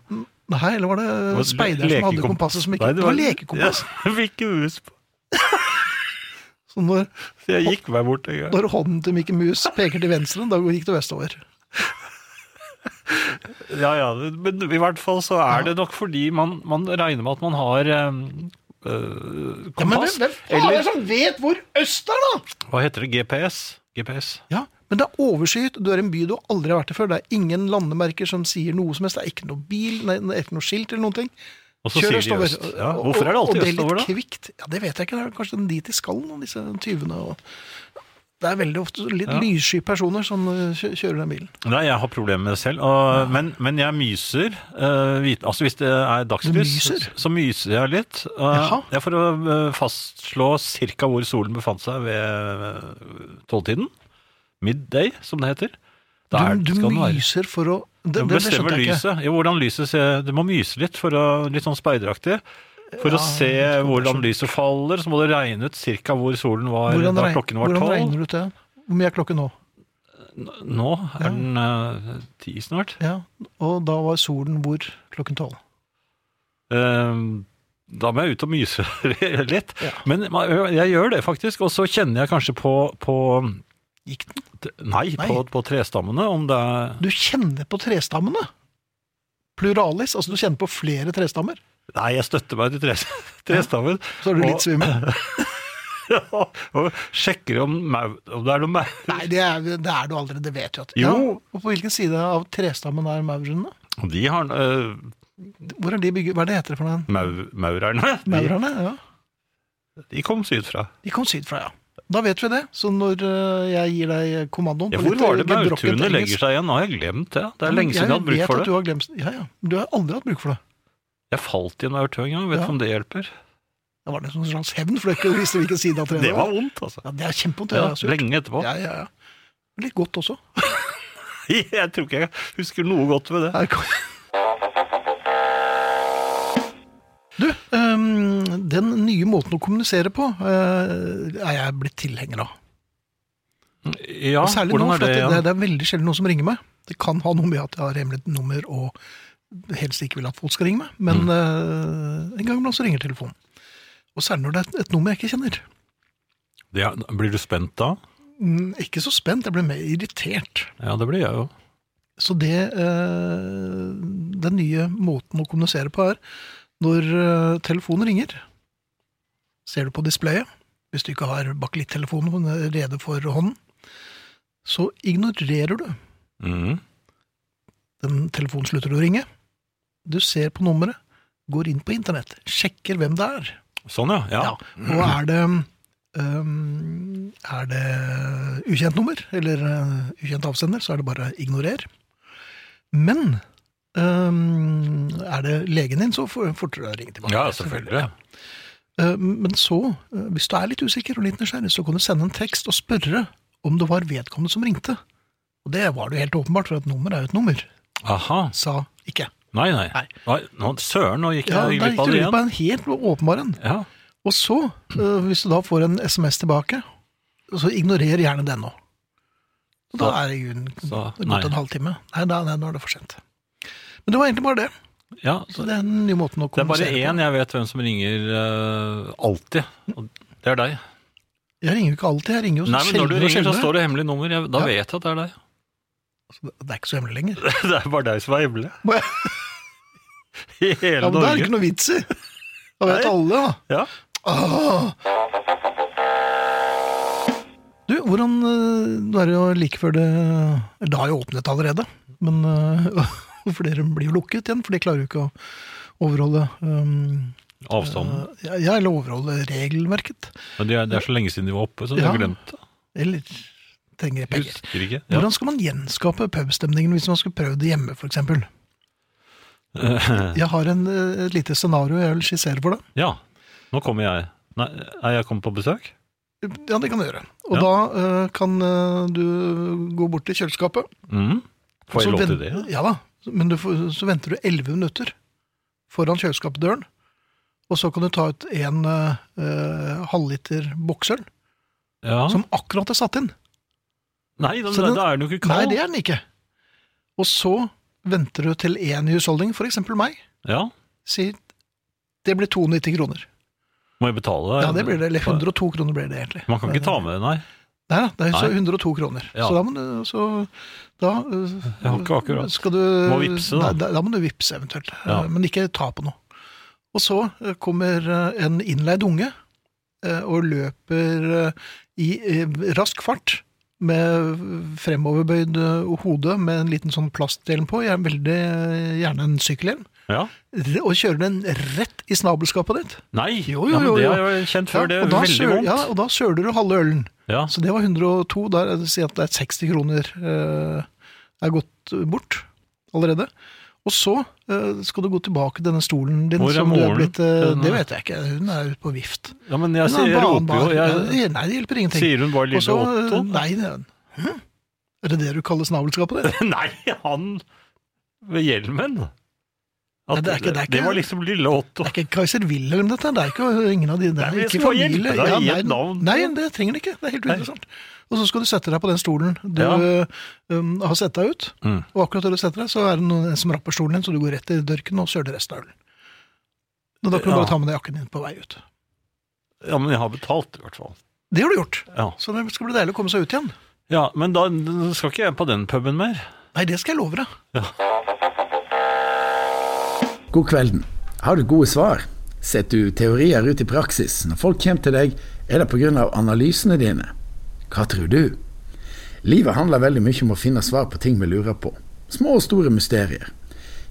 Speaker 2: Nei, eller var det speideren som hadde kompasset som ikke
Speaker 3: Nei,
Speaker 2: Det var lekekompass.
Speaker 3: Ja, Jeg fikk ikke hus på.
Speaker 2: Så når,
Speaker 3: Så jeg gikk meg bort en gang.
Speaker 2: når hånden til Mikke Mus peker til venstre, da gikk det vestover.
Speaker 3: Ja, ja, men i hvert fall så er det nok fordi man, man regner med at man har eh, eh, kompass. eller
Speaker 2: som vet hvor øst er, da?
Speaker 3: hva heter det? GPS? GPS.
Speaker 2: Ja, Men det er overskyet, du er i en by du aldri har vært i før. Det er ingen landemerker som sier noe som helst. Det er ikke noe bil, nei, det er ikke noe skilt eller noen ting.
Speaker 3: Og så sier de øst. Ja, hvorfor er det alltid
Speaker 2: Og
Speaker 3: østover,
Speaker 2: det er
Speaker 3: da?
Speaker 2: litt kvikt. Ja, Det vet jeg ikke. Det er kanskje den dit de skal, nå, disse tyvene. Og det er veldig ofte litt
Speaker 3: Ja.
Speaker 2: lyssky personer som eh, kjø- kjører den bilen.
Speaker 3: Nei, jeg har problemer med det selv. Og, men, men jeg myser. eh, vit, altså Hvis det er dagslys,
Speaker 2: Du myser?
Speaker 3: så- så myser jeg litt. eh,
Speaker 2: Jaha.
Speaker 3: ja, for å eh, fastslå ca. hvor solen befant seg ved eh, tolvtiden. Midday, som det heter. Der
Speaker 2: Du,
Speaker 3: skal
Speaker 2: du
Speaker 3: den være.
Speaker 2: myser for å det,
Speaker 3: Du
Speaker 2: det, det
Speaker 3: bestemmer
Speaker 2: skjønte jeg ikke.
Speaker 3: lyset. Jo, hvordan lyset ser Du må myse litt, for å, litt sånn speideraktig. For å se hvordan lyset faller, så må du regne ut ca. hvor solen var
Speaker 2: Hvordan,
Speaker 3: da
Speaker 2: regn-
Speaker 3: klokken var
Speaker 2: hvordan
Speaker 3: tolv.
Speaker 2: regner du ut det? Hvor mye er klokken nå?
Speaker 3: Nå er den eh, ti snart.
Speaker 2: Ja, Og da var solen hvor klokken tolv?
Speaker 3: Ehm, da må jeg ut og myse litt. Men man- jeg gjør det faktisk, og så kjenner jeg kanskje på, på
Speaker 2: Gikk den?
Speaker 3: Nei,
Speaker 2: Nei.
Speaker 3: På, på trestammene, om det er
Speaker 2: Du kjenner på trestammene. Pluralis. Altså, du kjenner på flere trestammer.
Speaker 3: Nei, jeg støtter meg til tres- trestammen.
Speaker 2: Så er du litt svimmel.
Speaker 3: Og, og sjekker om, mau- om det er noe maur.
Speaker 2: Nei, det er, det er du aldri. Det vet du at
Speaker 3: Jo.
Speaker 2: Og på hvilken side av trestammen er maurene?
Speaker 3: De har øh,
Speaker 2: Hvor er de bygget? Hva er det heter for den?
Speaker 3: mau- Maurerne. De,
Speaker 2: Maurerne? Ja.
Speaker 3: de kom sydfra.
Speaker 2: De kom sydfra, ja. Da vet vi det. Så når eh, jeg gir deg kommandoen
Speaker 3: Ja,
Speaker 2: på
Speaker 3: hvor
Speaker 2: litt,
Speaker 3: var
Speaker 2: eh,
Speaker 3: det
Speaker 2: gebrokkent
Speaker 3: maurtunet
Speaker 2: engelsk-
Speaker 3: legger seg igjen? Nå har jeg glemt det. Det er lenge siden jeg hadde bruk
Speaker 2: vet
Speaker 3: for
Speaker 2: at Du
Speaker 3: det.
Speaker 2: har, glemt, ja, ja. du har aldri hatt bruk for det.
Speaker 3: Jeg falt i en maurtue en gang. Vet du
Speaker 2: Ja.
Speaker 3: om det hjelper?
Speaker 2: Det var det som en sånn slags hevn, for du visste hvilken side av treet
Speaker 3: Det var vondt, altså.
Speaker 2: Ja, det er kjempevondt.
Speaker 3: Ja,
Speaker 2: det er surt.
Speaker 3: lenge etterpå.
Speaker 2: Ja, ja, ja. Litt godt også.
Speaker 3: Jeg tror ikke jeg husker noe godt ved det.
Speaker 2: Her kom- Du, øhm, den nye måten å kommunisere på øh, er jeg blitt tilhenger av.
Speaker 3: Ja,
Speaker 2: Og Særlig nå,
Speaker 3: hvordan er
Speaker 2: for
Speaker 3: det
Speaker 2: at det,
Speaker 3: igjen?
Speaker 2: det er veldig sjelden noen som ringer meg. Det kan ha noe med at jeg har hemmelig nummer og helst ikke vil at folk skal ringe meg,
Speaker 3: Mm.
Speaker 2: men øh, en gang iblant så ringer telefonen. Og særlig når det er et, et nummer jeg ikke kjenner.
Speaker 3: Ja, blir du spent da?
Speaker 2: Mm, Ikke så spent, jeg ble mer irritert.
Speaker 3: Ja, det blir jeg jo.
Speaker 2: Så det eh, Den nye måten å kommunisere på er når eh, telefonen ringer, ser du på displayet, hvis du ikke har bakelittelefonen rede for hånden, så ignorerer du.
Speaker 3: Mhm.
Speaker 2: Den telefonen slutter å ringe. Du ser på nummeret, går inn på internett, sjekker hvem det er.
Speaker 3: Sånn, ja. ja.
Speaker 2: Ja. Og er det øhm, Er det ukjent nummer, eller øh, ukjent avsender, så er det bare ignorer. Men øhm, er det legen din, så får- fortere å ringe tilbake.
Speaker 3: Ja, selvfølgelig.
Speaker 2: Eh, Men så, eh, hvis du er litt usikker og litt nysgjerrig, så kan du sende en tekst og spørre om det var vedkommende som ringte. Og det var det jo helt åpenbart, for et nummer er jo et nummer,
Speaker 3: Aha.
Speaker 2: sa ikke.
Speaker 3: Nei, nei.
Speaker 2: Nei.
Speaker 3: Nei, nå, søren, nå gikk
Speaker 2: Ja,
Speaker 3: jeg
Speaker 2: Da
Speaker 3: glipp
Speaker 2: gikk
Speaker 3: av
Speaker 2: du
Speaker 3: det
Speaker 2: ut på
Speaker 3: igjen.
Speaker 2: en helt åpenbar en.
Speaker 3: Ja.
Speaker 2: Og så, eh, hvis du da får en SMS tilbake, så ignorer gjerne den nå. Og da
Speaker 3: Så-
Speaker 2: er det i grunnen
Speaker 3: så-
Speaker 2: det er
Speaker 3: nei.
Speaker 2: gått en halvtime. Nei, da, nei, nå er det for sent. Men det var egentlig bare det.
Speaker 3: ja.
Speaker 2: Så det er den nye måten å
Speaker 3: Det er bare
Speaker 2: kommunisere
Speaker 3: én jeg vet hvem som ringer eh, alltid. Og det er deg.
Speaker 2: på. Jeg ringer jo ikke alltid, jeg ringer jo
Speaker 3: Nei, men Når du
Speaker 2: sjeldnere og
Speaker 3: ringer, så
Speaker 2: sjeldnere.
Speaker 3: står det hemmelig nummer. Jeg, da
Speaker 2: Ja.
Speaker 3: vet jeg at det er deg.
Speaker 2: Så Det det er ikke så hemmelig lenger.
Speaker 3: Det er bare deg som er hemmelig.
Speaker 2: Må jeg-
Speaker 3: I hele
Speaker 2: Ja, men det er det ikke
Speaker 3: Norge.
Speaker 2: noe vits i. Da vet
Speaker 3: Nei.
Speaker 2: alle, da.
Speaker 3: Ja.
Speaker 2: Åh. Du, hvordan øh, Nå er det jo like før det eller Det har jo åpnet allerede, men øh, flere blir jo lukket igjen, for de klarer jo ikke å overholde øhm,
Speaker 3: Avstanden.
Speaker 2: øh, Ja, eller overholde regelverket.
Speaker 3: Men det er, det er så lenge siden de var oppe, så de har
Speaker 2: Ja.
Speaker 3: glemt det.
Speaker 2: Eller trenger penger.
Speaker 3: Husker ikke. Ja.
Speaker 2: Hvordan skal man gjenskape pubstemningen hvis man skulle prøvd det hjemme, f.eks.? Jeg har en, øh, et lite scenario jeg vil skissere for deg.
Speaker 3: ja. Nå kommer jeg. Nei, er jeg kommet på besøk?
Speaker 2: Ja, det kan du gjøre. Og
Speaker 3: Ja.
Speaker 2: da eh, kan eh, du gå bort til kjøleskapet.
Speaker 3: Mhm. Får
Speaker 2: så
Speaker 3: jeg lov til
Speaker 2: ven-
Speaker 3: det?
Speaker 2: Ja da. Men du får, så venter du 11 minutter foran kjøleskapdøren. Og så kan du ta ut en eh, eh, halvliter boksøl,
Speaker 3: Ja.
Speaker 2: som akkurat er satt inn.
Speaker 3: Nei, da,
Speaker 2: Så
Speaker 3: da,
Speaker 2: den-
Speaker 3: da er den jo ikke
Speaker 2: Nei,
Speaker 3: kald.
Speaker 2: det er den ikke. Og så venter du til en i husholdning, for eksempel meg,
Speaker 3: Ja.
Speaker 2: sier det blir 92 kroner.
Speaker 3: Må jeg betale?
Speaker 2: Ja, det blir det. Eller 102 kroner blir det egentlig. Eh,
Speaker 3: Man kan ikke ta med det, nei.
Speaker 2: Nei, da, det er så
Speaker 3: Nei.
Speaker 2: 102 kroner.
Speaker 3: Ja.
Speaker 2: Så da må du så, da, øh,
Speaker 3: Jeg har ikke akkurat.
Speaker 2: Skal du
Speaker 3: Må vippse, da.
Speaker 2: Da, da må du vippse eventuelt.
Speaker 3: Ja.
Speaker 2: Eh, Men ikke ta på noe. Og så eh, kommer eh, en innleid unge eh, og løper eh, i eh, rask fart med fremoverbøyd eh, hode med en liten sånn plastdelen på, gjerne, veldig eh, gjerne en sykkelhjelm,
Speaker 3: Ja.
Speaker 2: r- og kjører den rett i snabelskapet ditt.
Speaker 3: Nei,
Speaker 2: Jo, jo,
Speaker 3: ja, men
Speaker 2: jo,
Speaker 3: det
Speaker 2: jo.
Speaker 3: har jeg kjent før. det
Speaker 2: og
Speaker 3: er
Speaker 2: da
Speaker 3: veldig
Speaker 2: søl-
Speaker 3: vondt.
Speaker 2: Ja, og da søler du halve ølen.
Speaker 3: Ja.
Speaker 2: Så Altså, det var 102. Da er det- si at det er 60 kroner eh, er gått bort allerede. Og så eh, skal du gå tilbake til denne stolen din.
Speaker 3: Hvor er
Speaker 2: som du
Speaker 3: moren
Speaker 2: blitt, eh,
Speaker 3: til denne?
Speaker 2: det vet jeg ikke. Hun er ute på vift.
Speaker 3: ja, men jeg,
Speaker 2: Hun
Speaker 3: sier,
Speaker 2: er
Speaker 3: jeg
Speaker 2: på annen
Speaker 3: roper jo.
Speaker 2: bar.
Speaker 3: Jeg,
Speaker 2: Ja, Nei, det hjelper ingenting.
Speaker 3: sier hun bare
Speaker 2: Og
Speaker 3: lille
Speaker 2: så, eh,
Speaker 3: Otto?
Speaker 2: Nei, det- hm? Er det det du kaller snabelskapet? Det?
Speaker 3: Nei, han ved hjelmen.
Speaker 2: Nei, det er ikke- det er ikke-
Speaker 3: var liksom lille Otto.
Speaker 2: det er ikke Kaiser Wilhelm, dette. Det er ikke ingen av de der.
Speaker 3: Nei, men jeg
Speaker 2: ikke
Speaker 3: skal få hjelpe
Speaker 2: familie.
Speaker 3: deg i
Speaker 2: nei,
Speaker 3: et navn.
Speaker 2: nei, det trenger du ikke. Det er helt
Speaker 3: Nei.
Speaker 2: uinteressant. Og så skal du sette deg på den stolen du
Speaker 3: Ja.
Speaker 2: um, har sett deg ut.
Speaker 3: Mm.
Speaker 2: Og akkurat der du setter deg, så er det noen som rapper stolen din, så du går rett i dørken og søler resten av ølen. Men da kan du
Speaker 3: Ja.
Speaker 2: bare ta med deg jakken din på vei ut.
Speaker 3: Ja, men jeg har betalt, i hvert fall.
Speaker 2: Det har du gjort.
Speaker 3: Ja.
Speaker 2: Så det skal bli deilig å komme seg ut igjen.
Speaker 3: ja, Men da skal ikke jeg på den puben mer.
Speaker 2: Nei, det skal jeg love deg.
Speaker 4: God kvelden. Har du gode svar? Setter du teorier ut i praksis? Når folk kommer til deg, er det pga. analysene dine. Hva tror du? Livet handler veldig mye om å finne svar på ting vi lurer på. Små og store mysterier.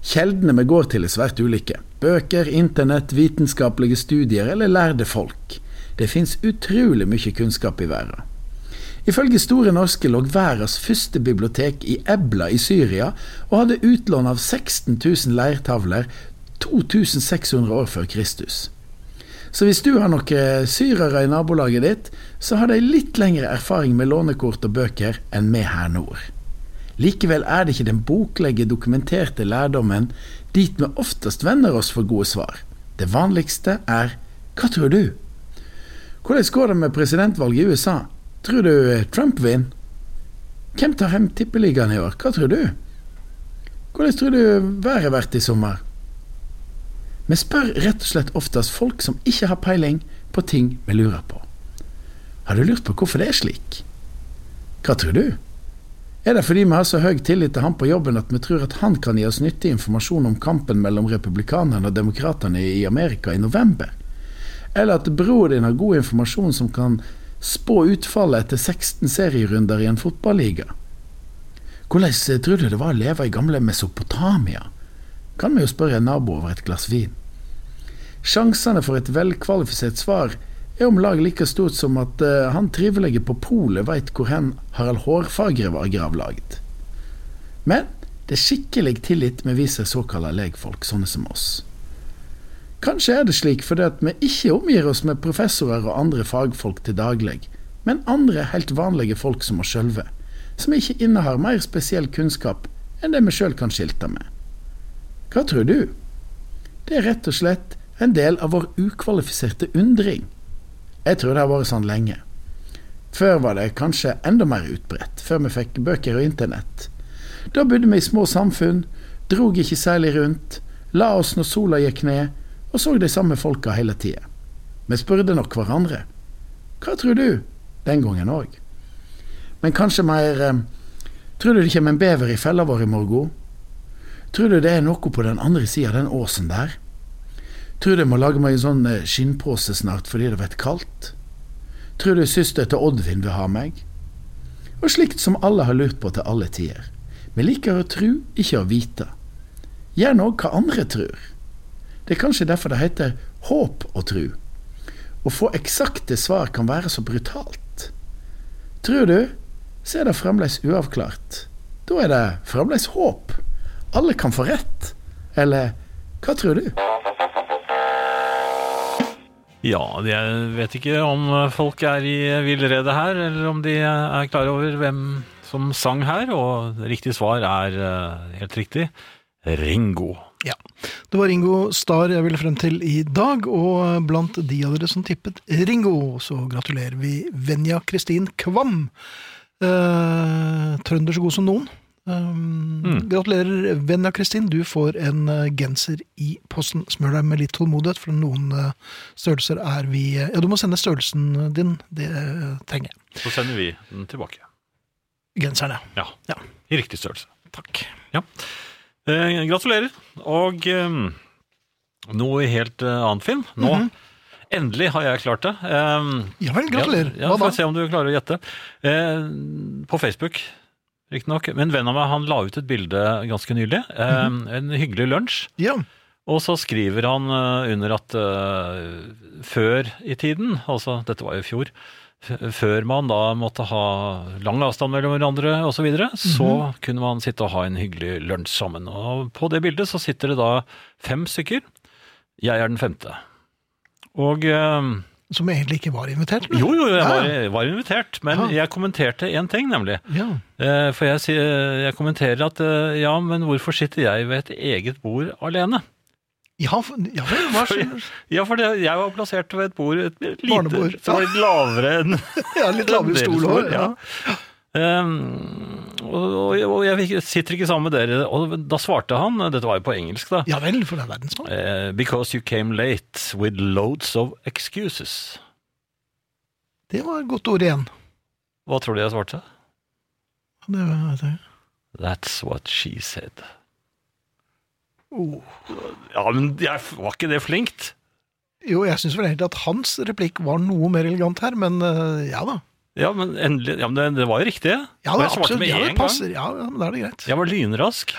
Speaker 4: Kjeldene vi går til er svært ulike. Bøker, internett, vitenskapelige studier eller lærde folk. Det fins utrolig mye kunnskap i verden. Ifølge Store Norske lå verdens første bibliotek i Ebla i Syria, og hadde utlån av 16 000 leirtavler 2600 år før Kristus. Så hvis du har noen syrere i nabolaget ditt, så har de litt lengre erfaring med lånekort og bøker enn vi her nord. Likevel er det ikke den boklige, dokumenterte lærdommen dit vi oftest vender oss for gode svar. Det vanligste er hva tror du? Hvordan går det med presidentvalget i USA? Tror du eh, Trump vinner? Hvem tar hjem tippeligaen i år? Hva tror du? Hvordan tror du været blir i sommer? Vi spør rett og slett oftest folk som ikke har peiling på ting vi lurer på. Har du lurt på hvorfor det er slik? Hva tror du? Er det fordi vi har så høy tillit til han på jobben at vi tror at han kan gi oss nyttig informasjon om kampen mellom republikanerne og demokratene i Amerika i november? eller at bror din har god informasjon som kan spå utfallet etter 16 serierunder i en fotballiga. Hvordan tror du det var å leve i gamle Mesopotamia? Kan vi jo spørre en nabo over et glass vin. Sjansene for et velkvalifisert svar er om lag like stort som at eh, han trivelige på polet veit hvor hen Harald Hårfagre var gravlagd. Men det er skikkelig tillit vi viser såkalla legfolk, sånne som oss. Kanskje er det slik fordi at vi ikke omgir oss med professorer og andre fagfolk til daglig, men andre helt vanlige folk som oss sjølve, som ikke innehar mer spesiell kunnskap enn det vi sjøl kan skilte med. Hva tror du? Det er rett og slett en del av vår ukvalifiserte undring. Jeg tror det har vært sånn lenge. Før var det kanskje enda mer utbredt, før vi fikk bøker og internett. Da bodde vi i små samfunn, drog ikke særlig rundt, la oss når sola gikk ned, og så de samme folka hele tida. Vi spurte nok hverandre. Hva tror du? Den gangen òg. Men kanskje mer eh, Tror du det kommer en bever i fella vår i morgen? Tror du det er noe på den andre sida av den åsen der? Tror du jeg må lage meg en sånn eh, skinnpose snart fordi det blir kaldt? Tror du søster til Oddvin vil ha meg? Og slikt som alle har lurt på til alle tider. Vi liker å tru, ikke å vite. Gjerne òg hva andre tror. Det er kanskje derfor det heter håp og tru. Å få eksakte svar kan være så brutalt. Tror du, så er det fremdeles uavklart. Da er det fremdeles håp. Alle kan få rett. Eller hva tror du?
Speaker 3: Ja, jeg vet ikke om folk er i villrede her, eller om de er klar over hvem som sang her, og riktig svar er eh, helt riktig Ringo.
Speaker 2: Ja. Det var Ringo Starr jeg ville frem til i dag, og blant de av dere som tippet Ringo, så gratulerer vi Venja Kristin Kvam. Eh, trønder så god som noen. Um,
Speaker 3: Mm.
Speaker 2: Gratulerer, Venja Kristin. Du får en eh, genser i posten. Smør deg med litt tålmodighet, for noen eh, størrelser er vi eh, Ja, du må sende størrelsen din. Det eh, trenger jeg.
Speaker 3: Så sender vi den tilbake.
Speaker 2: Genseren, ja.
Speaker 3: Ja.
Speaker 2: Ja.
Speaker 3: I riktig størrelse.
Speaker 2: Takk.
Speaker 3: Ja. Eh, gratulerer. Og eh, noe helt eh, annet, Finn. Nå
Speaker 2: Mhm.
Speaker 3: Endelig har jeg klart det. Eh,
Speaker 2: Ja vel, gratulerer.
Speaker 3: Ja, ja,
Speaker 2: Hva
Speaker 3: Får
Speaker 2: da?
Speaker 3: se om du klarer å gjette. Eh, på Facebook, riktignok. Men en venn av meg han la ut et bilde ganske nylig. Eh,
Speaker 2: Mhm.
Speaker 3: En hyggelig lunsj.
Speaker 2: Ja.
Speaker 3: Og så skriver han eh, under at eh, før i tiden, altså dette var jo i fjor, f- før man da måtte ha lang avstand mellom hverandre osv., så, videre, så
Speaker 2: Mhm.
Speaker 3: kunne man sitte og ha en hyggelig lunsj sammen. Og på det bildet så sitter det da fem stykker. Jeg er den femte. Og eh,
Speaker 2: Som egentlig ikke var invitert? men-
Speaker 3: jo, jo, jeg var,
Speaker 2: Ja,
Speaker 3: var invitert, men
Speaker 2: Ja.
Speaker 3: jeg kommenterte én ting, nemlig.
Speaker 2: ja.
Speaker 3: Eh, For jeg, sier- jeg kommenterer at eh, ja, men hvorfor sitter jeg ved et eget bord alene?
Speaker 2: Ja, for- ja vel, hva skjer?
Speaker 3: Ja, for det, jeg var plassert ved et bord, et lite,
Speaker 2: Barnebord.
Speaker 3: som var litt lavere enn
Speaker 2: Ja, litt lavere
Speaker 3: enn deres
Speaker 2: stol
Speaker 3: bord,
Speaker 2: også,
Speaker 3: ja.
Speaker 2: ja.
Speaker 3: Ehm, og, og og jeg fikk- sitter ikke sammen med dere. Og da svarte han, dette var jo på engelsk, da.
Speaker 2: Ja vel, for det er verdensmann.
Speaker 3: Eh, because you came late with loads of excuses.
Speaker 2: Det var et godt ord igjen.
Speaker 3: Hva tror du jeg svarte?
Speaker 2: Det var, det.
Speaker 3: That's what she said.
Speaker 2: Oh.
Speaker 3: Ja, men jeg var ikke det flinkt?
Speaker 2: Jo, jeg syns vel egentlig at hans replikk var noe mer elegant her, men eh, ja da.
Speaker 3: Ja, men endelig Ja, men det, det var jo riktig, det.
Speaker 2: Ja,
Speaker 3: Og
Speaker 2: det,
Speaker 3: jeg svarte
Speaker 2: absolutt,
Speaker 3: med
Speaker 2: ja, det
Speaker 3: en gang.
Speaker 2: passer. Ja, ja, men da er det greit.
Speaker 3: Jeg var lynrask.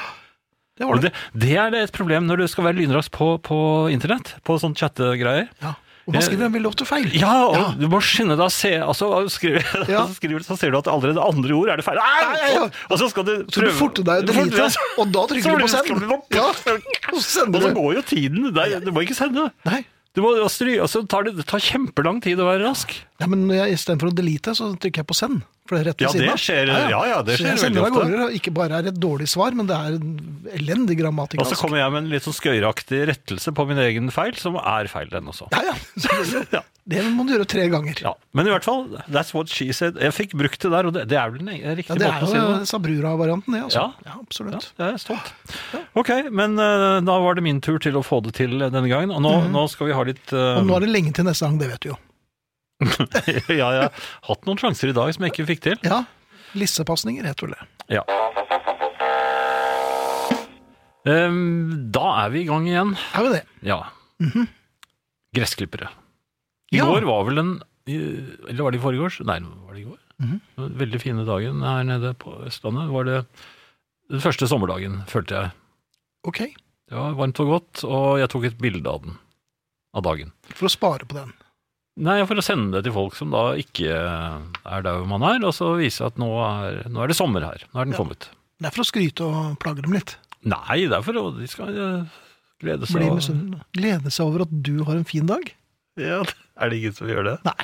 Speaker 2: Det
Speaker 3: Og
Speaker 2: var det.
Speaker 3: det, det er det et problem når du skal være lynrask på, på internett, på sånn chattegreier.
Speaker 2: Ja. Og man skriver en veldig ofte feil.
Speaker 3: Ja, og
Speaker 2: Ja.
Speaker 3: du må skynde deg å se altså, skriver,
Speaker 2: Ja.
Speaker 3: så skriver, du, Så ser du at allerede andre ord er det feil. Nei,
Speaker 2: Nei, ja.
Speaker 3: og, og så skal du
Speaker 2: Så du
Speaker 3: prøve-
Speaker 2: forter deg å
Speaker 3: Du forter
Speaker 2: drite,
Speaker 3: deg-
Speaker 2: og da
Speaker 3: så
Speaker 2: trykker du på
Speaker 3: skal
Speaker 2: send.
Speaker 3: du-
Speaker 2: Ja, og så
Speaker 3: Og så
Speaker 2: sender du.
Speaker 3: går jo tiden. Nei, du må ikke sende.
Speaker 2: Nei,
Speaker 3: Du må, og stry- og så tar det, det tar kjempelang tid å være rask.
Speaker 2: Nei men når jeg, istedenfor å delete, så trykker jeg på send. For det er rett ved
Speaker 3: Ja,
Speaker 2: siden
Speaker 3: det
Speaker 2: av.
Speaker 3: skjer- ja, ja, det
Speaker 2: Så
Speaker 3: skjer
Speaker 2: jeg sender
Speaker 3: veldig
Speaker 2: av
Speaker 3: ofte.
Speaker 2: gårde, og ikke bare er det et dårlig svar, men det er en elendig altså.
Speaker 3: Og så
Speaker 2: grammatikalsk.
Speaker 3: kommer jeg med en litt sånn skøyeraktig rettelse på min egen feil, som er feil, den også.
Speaker 2: Ja, ja, selvfølgelig.
Speaker 3: Ja.
Speaker 2: Det må du gjøre tre ganger.
Speaker 3: Ja, Men i hvert fall, that's what she said. Jeg fikk brukt det der, og det, det er vel den
Speaker 2: Ja,
Speaker 3: riktige
Speaker 2: det
Speaker 3: måten
Speaker 2: er
Speaker 3: å si det
Speaker 2: jo
Speaker 3: på.
Speaker 2: Sabrura-varianten, det. altså.
Speaker 3: Ja.
Speaker 2: ja absolutt.
Speaker 3: Ja, jeg er stolt. Ok, men eh, da var det min tur til å få det til denne gangen. Og nå,
Speaker 2: Mhm.
Speaker 3: nå skal vi ha litt eh,
Speaker 2: Og nå er det lenge til neste gang, det vet du jo.
Speaker 3: Ja, jeg har hatt noen sjanser i dag som jeg ikke fikk til.
Speaker 2: Ja, Lissepasninger heter vel det.
Speaker 3: Ja. Em, da er vi i gang igjen.
Speaker 2: Er jo det.
Speaker 3: Ja.
Speaker 2: Mhm.
Speaker 3: Gressklippere. I
Speaker 2: Ja.
Speaker 3: går var vel en i- Eller var det i forgårs? Nei, var det i går?
Speaker 2: Mhm.
Speaker 3: Den Veldig fine dagen her nede på Østlandet. Var det den første sommerdagen, følte jeg.
Speaker 2: Ok,
Speaker 3: Det var varmt og godt, og jeg tok et bilde av den. Av dagen.
Speaker 2: for å spare på den.
Speaker 3: Nei, for å sende det til folk som da ikke er der hvor man er, og så vise at nå er, nå er det sommer her. Nå er den
Speaker 2: Ja.
Speaker 3: kommet.
Speaker 2: Det er for å skryte og plage dem litt.
Speaker 3: Nei, det er for å De skal eh, glede seg.
Speaker 2: Bli
Speaker 3: og-
Speaker 2: misunnelig. Glede seg over at du har en fin dag.
Speaker 3: Ja, er det ingen som gjør det?
Speaker 2: Nei.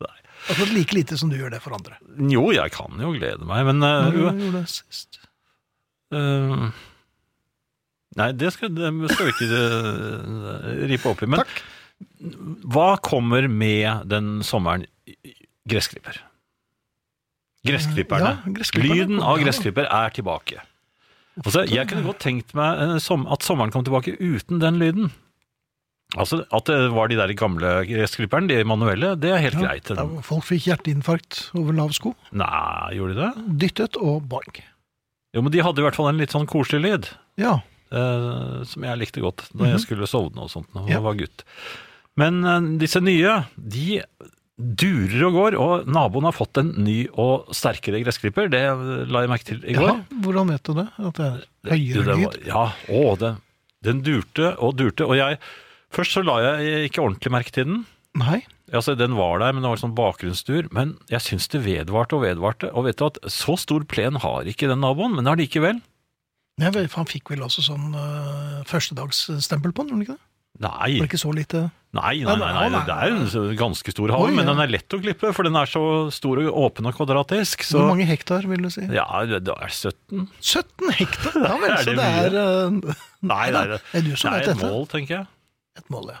Speaker 2: Akkurat Altså, like lite som du gjør det for andre.
Speaker 3: Jo, jeg kan jo glede meg, men eh,
Speaker 2: Når du gjorde det sist.
Speaker 3: eh, Nei, det skal, det skal vi ikke eh, ripe opp i. Men
Speaker 2: Takk.
Speaker 3: hva kommer med den sommeren? Gressklipper. Gressklipperne.
Speaker 2: Ja, gressklipperne
Speaker 3: Lyden
Speaker 2: kommer,
Speaker 3: av
Speaker 2: ja.
Speaker 3: gressklipper er tilbake. Altså, jeg kunne godt tenkt meg eh, som, at sommeren kom tilbake uten den lyden. Altså, At det var de der gamle gressklipperne, de manuelle, det er helt
Speaker 2: Ja,
Speaker 3: greit.
Speaker 2: da folk fikk hjerteinfarkt over lav sko.
Speaker 3: Nei, gjorde de det?
Speaker 2: Dyttet og bang.
Speaker 3: Jo, men de hadde i hvert fall en litt sånn koselig lyd.
Speaker 2: Ja.
Speaker 3: eh, som jeg likte godt da jeg skulle sovne og sånt da jeg
Speaker 2: Mhm. Ja.
Speaker 3: var gutt. Men eh, disse nye, de durer og går, og naboen har fått en ny og sterkere gressklipper. Det eh, la jeg merke til i går.
Speaker 2: ja. Hvordan vet du det? At det er
Speaker 3: Jo,
Speaker 2: høyere
Speaker 3: det var-
Speaker 2: lyd?
Speaker 3: Ja, å, det, den durte og durte. Og jeg, først så la jeg ikke ordentlig merke til den.
Speaker 2: Nei.
Speaker 3: Altså, den var der, men det var sånn bakgrunnsdur. Men jeg syns det vedvarte og vedvarte. Og vet du at så stor plen har ikke den naboen, men allikevel.
Speaker 2: Nei, vel, for Han fikk vel også sånn eh, førstedagsstempel på den, gjorde han ikke det?
Speaker 3: Nei.
Speaker 2: Var det ikke så lite
Speaker 3: Nei,
Speaker 2: Nei,
Speaker 3: nei,
Speaker 2: nei,
Speaker 3: nei, nei,
Speaker 2: nei.
Speaker 3: det er en så- ganske stor hage,
Speaker 2: Oi,
Speaker 3: men
Speaker 2: ja.
Speaker 3: den er lett å klippe, for den er så stor og åpen og kvadratisk. Så,
Speaker 2: Hvor mange hektar, vil du si?
Speaker 3: Ja, det det er 17.
Speaker 2: 17 hektar! Ja vel,
Speaker 3: Er
Speaker 2: så
Speaker 3: det
Speaker 2: det er eh,
Speaker 3: Nei,
Speaker 2: da,
Speaker 3: nei, det
Speaker 2: er du som
Speaker 3: det
Speaker 2: vet
Speaker 3: er et
Speaker 2: dette?
Speaker 3: mål, tenker jeg.
Speaker 2: Et mål, ja.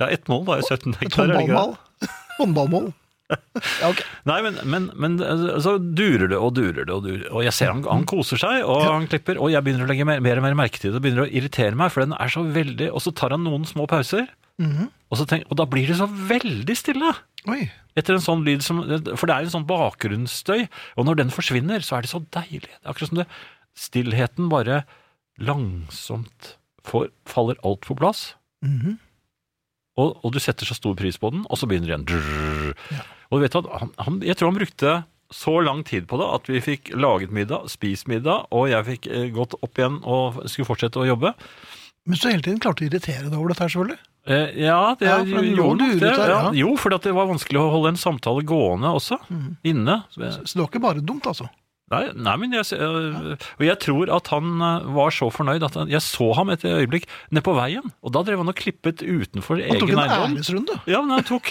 Speaker 3: Ja, ett mål, da er 17
Speaker 2: Et
Speaker 3: hektar. er det ikke det?
Speaker 2: håndballmål. Håndballmål. Ja, ok.
Speaker 3: Nei, men, men, men eh, så durer det og durer det, og durer, og jeg ser han,
Speaker 2: Mm.
Speaker 3: han koser seg, og han klipper, og jeg begynner å legge mer, mer og mer merke til det, og begynner å irritere meg, for den er så veldig, og så tar han noen små pauser, og, så tenk, og da blir det så veldig stille.
Speaker 2: Mhm. Oi.
Speaker 3: Etter en sånn lyd som For det er en sånn bakgrunnsstøy, og når den forsvinner, så er det så deilig. Det er akkurat som det Stillheten bare langsomt får, faller alt på plass,
Speaker 2: Mhm.
Speaker 3: og, og du setter så stor pris på den, og så begynner det igjen. Drrrr. Og du vet at han, han, Jeg tror han brukte så lang tid på det at vi fikk laget middag, spist middag, og jeg fikk eh, gått opp igjen og skulle fortsette å jobbe.
Speaker 2: Men så hele tiden klarte du å irritere deg over dette her, selvfølgelig.
Speaker 3: Eh, ja, det
Speaker 2: Ja, for den lå
Speaker 3: gjorde nok
Speaker 2: luret
Speaker 3: det.
Speaker 2: der, ja.
Speaker 3: ja. Jo, fordi at det var vanskelig å holde en samtale gående også, inne.
Speaker 2: Mhm. Så det var ikke bare dumt, altså.
Speaker 3: Nei, nei men jeg, øh, og jeg tror at han øh, var så fornøyd at han, jeg så ham et øyeblikk ned på veien, og da drev han og klippet utenfor
Speaker 2: Han tok
Speaker 3: egen
Speaker 2: en
Speaker 3: eiendom.
Speaker 2: æresrunde.
Speaker 3: Ja, men han tok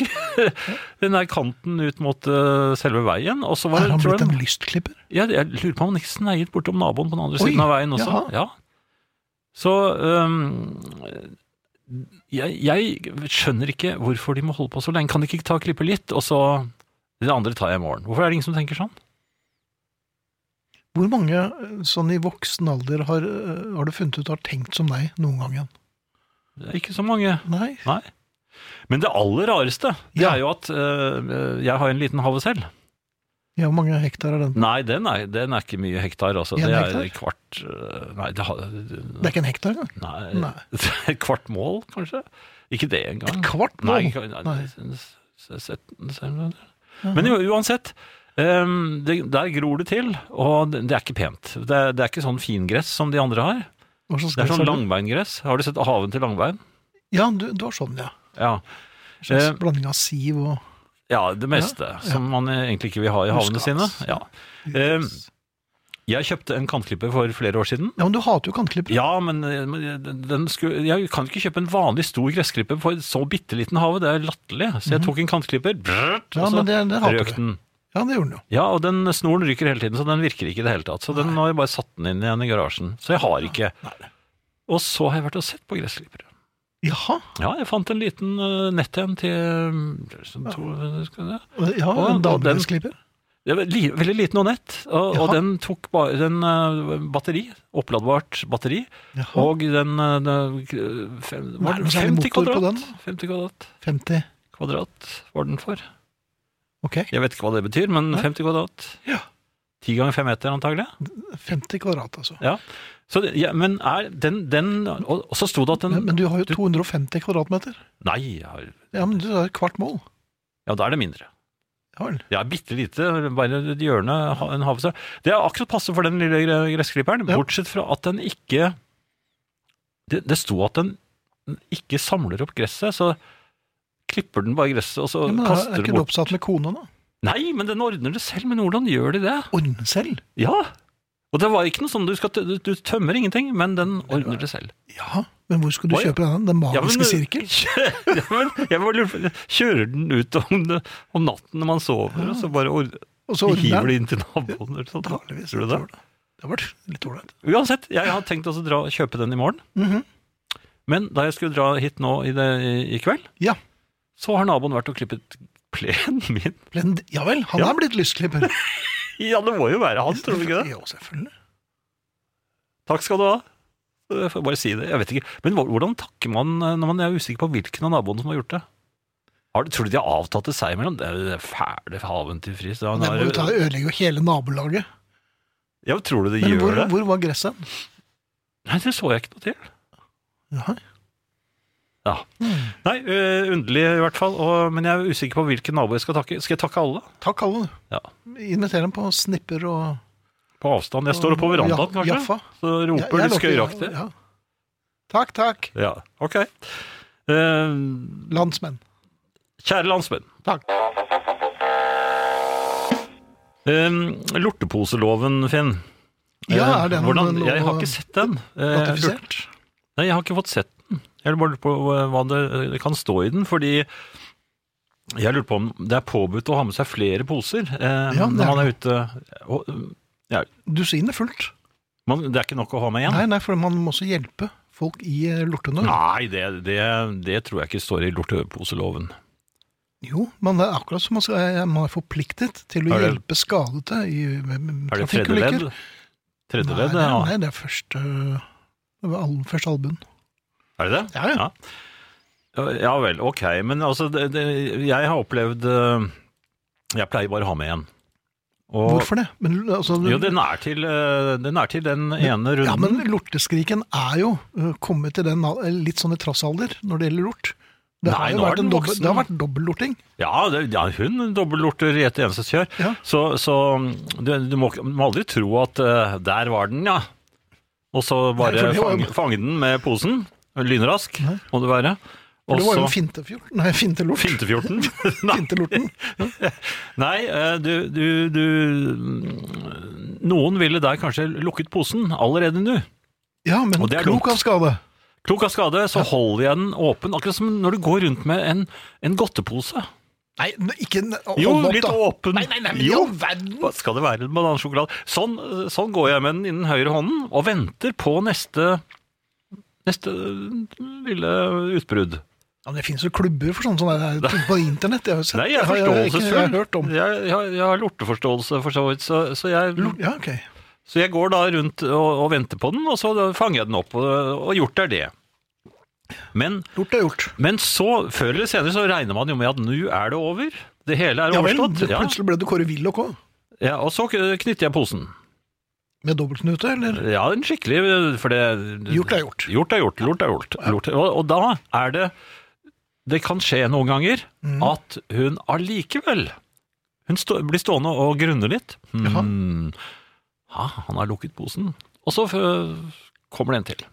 Speaker 3: den der kanten ut mot øh, selve veien, og så var
Speaker 2: Er
Speaker 3: det,
Speaker 2: han
Speaker 3: tror
Speaker 2: blitt
Speaker 3: jeg,
Speaker 2: en lystklipper?
Speaker 3: jeg, jeg lurer på om han ikke sneiet bortom naboen på den andre
Speaker 2: Oi,
Speaker 3: siden av veien også.
Speaker 2: jaha.
Speaker 3: Ja. Så øhm, jeg, jeg skjønner ikke hvorfor de må holde på så lenge. Kan de ikke ta og klippe litt, og så det andre tar jeg i morgen? Hvorfor er det ingen som tenker sånn?
Speaker 2: Hvor mange eh, sånn i voksen alder har, eh, har du funnet ut har tenkt som deg noen gang igjen?
Speaker 3: Det er ikke så mange.
Speaker 2: Nei?
Speaker 3: Nei. Men det aller rareste, det
Speaker 2: Ja.
Speaker 3: er jo at eh, jeg har en liten hage selv.
Speaker 2: Ja, hvor mange hektar er den?
Speaker 3: Nei, den er, den er ikke mye hektar, altså.
Speaker 2: En
Speaker 3: Det er
Speaker 2: hektar?
Speaker 3: et kvart eh, Nei, det har
Speaker 2: Det er ikke en hektar engang.
Speaker 3: Nei.
Speaker 2: Nei.
Speaker 3: Et kvart mål, kanskje? Ikke det engang.
Speaker 2: Et kvart mål?
Speaker 3: Nei, ikke- nei,
Speaker 2: Nei.
Speaker 3: s- s- setten- setten- Men jo, uansett, ehm, det, der gror det til, og det, det er ikke pent. Det, er- det er ikke sånn fingress som de andre har.
Speaker 2: Hva slags
Speaker 3: Det er
Speaker 2: gress
Speaker 3: sånn
Speaker 2: du?
Speaker 3: langbeingress. Har du sett haven til langbein?
Speaker 2: Ja, du, du har sånn, ja.
Speaker 3: Ja.
Speaker 2: En slags
Speaker 3: Eh,
Speaker 2: blanding av siv og
Speaker 3: ja, det meste. Som man egentlig ikke vil ha i havene sine.
Speaker 2: Muskat.
Speaker 3: Ja. Ehm, Jeg kjøpte en kantklipper for flere år siden.
Speaker 2: Ja, men du hater jo kantklippere.
Speaker 3: Ja, men eh, men den skulle, jeg kan ikke kjøpe en vanlig stor gressklipper på en så bitte liten hage. Det er latterlig. Så jeg tok en kantklipper, brrrt,
Speaker 2: Mhm. Ja,
Speaker 3: og så
Speaker 2: men det- det hater
Speaker 3: røk
Speaker 2: du.
Speaker 3: den.
Speaker 2: Ja, det gjorde den jo.
Speaker 3: Ja, og den snoren ryker hele tiden, så den virker ikke i det hele tatt. Så den har jeg bare satt den inn igjen i garasjen. Så jeg har ikke. Og så har jeg vært og sett på gressklippere.
Speaker 2: Jaha.
Speaker 3: Ja, jeg fant en liten eh, nett en til eh, som to, skal jeg-
Speaker 2: Ja,
Speaker 3: Og-
Speaker 2: en
Speaker 3: og
Speaker 2: damegressklipper.
Speaker 3: det var li, veldig liten og nett, og, og
Speaker 2: Jaha.
Speaker 3: den tok bare den eh, batteri, oppladbart batteri,
Speaker 2: Jaha.
Speaker 3: og den, eh, den, eh, fem,
Speaker 2: Nei,
Speaker 3: var den
Speaker 2: men så er det
Speaker 3: 50
Speaker 2: motor på
Speaker 3: kvadrat,
Speaker 2: den.
Speaker 3: 50 kvadrat,
Speaker 2: 50.
Speaker 3: kvadrat var den for.
Speaker 2: Ok.
Speaker 3: Jeg vet ikke hva det betyr, men 50 kvadrat.
Speaker 2: Ja.
Speaker 3: 10 ganger 5 meter antagelig.
Speaker 2: 50 kvadrat, altså.
Speaker 3: Ja. Så det, ja, men er den, den og, og så sto det at den...
Speaker 2: Men, men du har jo
Speaker 3: du-
Speaker 2: 250 kvadratmeter.
Speaker 3: Nei, jeg har,
Speaker 2: Ja, men du har et kvart mål.
Speaker 3: ja, da er det mindre.
Speaker 2: Ja vel.
Speaker 3: Ja, bitte lite, bare et hjørne, ha- en havestø. Det er akkurat passe for den lille gre- gressklipperen,
Speaker 2: Ja.
Speaker 3: bortsett fra at den ikke det, det sto at den ikke samler opp gresset, så klipper den bare gresset, og så
Speaker 2: Ja, men er,
Speaker 3: kaster
Speaker 2: er
Speaker 3: den
Speaker 2: ikke du
Speaker 3: bort.
Speaker 2: oppsatt med kone, da?
Speaker 3: Nei, men den ordner det selv, men hvordan gjør de det?
Speaker 2: Ordne selv?
Speaker 3: Ja! Og det var ikke noe sånn du skal tø- Du, du tømmer ingenting, men den ordner det selv.
Speaker 2: Ja, men hvor skulle du
Speaker 3: Oi.
Speaker 2: kjøpe den? Den
Speaker 3: Ja, men-
Speaker 2: magiske sirkel?
Speaker 3: ja, men jeg bare lurer på Kjører den ut om, det- om natten når man sover, og så bare ord,
Speaker 2: Og så ordner den?
Speaker 3: hiver det inn til naboen? Eller sånt.
Speaker 2: Antageligvis,
Speaker 3: Tror du
Speaker 2: jeg
Speaker 3: det?
Speaker 2: tror det. Det har vært litt ålreit.
Speaker 3: Uansett, jeg har tenkt også å dra, kjøpe den i morgen.
Speaker 2: Mhm.
Speaker 3: Men da jeg skulle dra hit nå i, det, i, i kveld,
Speaker 2: Ja.
Speaker 3: så har naboen vært og klippet plenen min.
Speaker 2: Men, ja vel, han
Speaker 3: Ja.
Speaker 2: er blitt lystklipper.
Speaker 3: Ja, det må jo være han, tror du ikke det?
Speaker 2: Jo, selvfølgelig.
Speaker 3: Takk skal du ha. Jeg får bare si det. Jeg vet ikke. Men hvor- hvordan takker man eh, når man er usikker på hvilken av naboene som har gjort det? Har, du- tror du de har avtatt det seg imellom? Det er jo det fæle haven til Friis. Han
Speaker 2: Det må jo ta
Speaker 3: har-
Speaker 2: ødelegge jo hele nabolaget.
Speaker 3: Ja, tror du de
Speaker 2: Men
Speaker 3: gjør
Speaker 2: hvor,
Speaker 3: det?
Speaker 2: hvor var gresset? hen?
Speaker 3: Nei, det så jeg ikke noe til.
Speaker 2: Jaha.
Speaker 3: Ja. Nei, øh, underlig i hvert fall. Og, men jeg er usikker på hvilken nabo jeg skal takke. Skal jeg takke alle?
Speaker 2: Takk, alle.
Speaker 3: Ja.
Speaker 2: Inviter dem på snipper og
Speaker 3: På avstand. Jeg står oppe på verandaen,
Speaker 2: Ja,
Speaker 3: kanskje.
Speaker 2: Jaffa.
Speaker 3: Så
Speaker 2: Ja,
Speaker 3: roper
Speaker 2: jeg
Speaker 3: de
Speaker 2: lokker, ja,
Speaker 3: skøyeraktig. Ja.
Speaker 2: ja. Takk, takk,
Speaker 3: ok. Eh,
Speaker 2: landsmenn.
Speaker 3: kjære landsmenn.
Speaker 2: Takk.
Speaker 3: Eh, lorteposeloven, Finn.
Speaker 2: Ja,
Speaker 3: Eh,
Speaker 2: er den
Speaker 3: hvordan,
Speaker 2: nå
Speaker 3: jeg har ikke sett den. Eh,
Speaker 2: Ratifisert?
Speaker 3: Nei, jeg har ikke fått sett den. Jeg lurer bare på hva det det kan stå i den, fordi jeg lurer på om det er påbudt å ha med seg flere poser eh,
Speaker 2: Ja, det er
Speaker 3: når man er ute. Og, ja,
Speaker 2: Du sier det fullt.
Speaker 3: man, det er ikke nok å ha med én?
Speaker 2: Nei, nei, for man må også hjelpe folk i eh, lortenød.
Speaker 3: Nei, det, det, det tror jeg ikke står i lorteposeloven.
Speaker 2: Jo, men det er akkurat som man, skal, man er forpliktet til å
Speaker 3: Er det-
Speaker 2: hjelpe skadete i med- med
Speaker 3: Er det tredje ledd?
Speaker 2: trafikkulykker.
Speaker 3: Tredje
Speaker 2: Nei,
Speaker 3: ledd,
Speaker 2: nei,
Speaker 3: ja.
Speaker 2: nei, det er første det var all- Første albuen.
Speaker 3: Er det det?
Speaker 2: Ja, ja.
Speaker 3: Ja, ja vel, ok. Men altså, det, det, jeg har opplevd eh, Jeg pleier bare å ha med én. Og-
Speaker 2: Hvorfor det? Men, altså,
Speaker 3: Jo, den er til, eh, den, er til den ene runden.
Speaker 2: Ja, men lorteskriken er jo ø, kommet til den al- litt sånn i trassalder når det gjelder lort. Det
Speaker 3: Nei,
Speaker 2: har jo
Speaker 3: nå er
Speaker 2: vært
Speaker 3: den
Speaker 2: en dobbel,
Speaker 3: voksen.
Speaker 2: det har vært dobbellorting.
Speaker 3: Ja, det, ja hun dobbellorter i et eneste kjør.
Speaker 2: Ja.
Speaker 3: Så, så mm, du, du, må, ikke- du må aldri tro at eh, der var den, ja. Og så
Speaker 2: Nei,
Speaker 3: bare
Speaker 2: for det var jo-
Speaker 3: fange, fange den med posen. Lynrask
Speaker 2: Nei.
Speaker 3: må det være.
Speaker 2: For det var jo en
Speaker 3: Og så
Speaker 2: fintefjord. Nei, fintelort.
Speaker 3: Fintefjorten. Nei,
Speaker 2: Fintelorten.
Speaker 3: nei eh, du, du, du mm, Noen ville der kanskje lukket posen allerede nå.
Speaker 2: Ja, men
Speaker 3: Og det er
Speaker 2: klok
Speaker 3: dumt.
Speaker 2: av skade.
Speaker 3: Klok av skade, så holder jeg den åpen. Akkurat som når du går rundt med en, en godtepose.
Speaker 2: Nei, n- ikke n- hold
Speaker 3: Jo,
Speaker 2: opp,
Speaker 3: litt
Speaker 2: da.
Speaker 3: åpen.
Speaker 2: Nei, nei, nei, men i
Speaker 3: Jo.
Speaker 2: all verden.
Speaker 3: Hva skal det være? En banansjokolade? Sånn, sånn går jeg med den innen høyre hånden og venter på neste Neste lille utbrudd.
Speaker 2: Ja, men det finnes jo klubber for sånn- sånne som er ting på internett. Jeg har jo sett.
Speaker 3: Nei, jeg er
Speaker 2: har- jeg har ikke- Jeg
Speaker 3: forståelsesfull.
Speaker 2: har hørt om.
Speaker 3: Jeg, jeg, jeg har lorteforståelse, for så vidt, så, så jeg
Speaker 2: Lort, ja, ok.
Speaker 3: Så jeg går da rundt og, og venter på den, og så fanger jeg den opp, og, og gjort er det. Men,
Speaker 2: Gjort er gjort.
Speaker 3: men så, før eller senere, så regner man jo med at nå er det over. Det hele er
Speaker 2: Ja vel,
Speaker 3: overstått. Ja,
Speaker 2: plutselig ble du Kåre Willoch òg.
Speaker 3: ja, og så knytter jeg posen.
Speaker 2: Med dobbeltknute, eller?
Speaker 3: Ja, en skikkelig for det,
Speaker 2: Gjort er gjort.
Speaker 3: Gjort er gjort. Lort er gjort. Lort. Og, og da er det Det kan skje noen ganger
Speaker 2: Mm.
Speaker 3: at hun allikevel Hun stå, blir stående og grunne litt. Hmm. Ha, han har lukket posen. Og så øh, kommer det en til.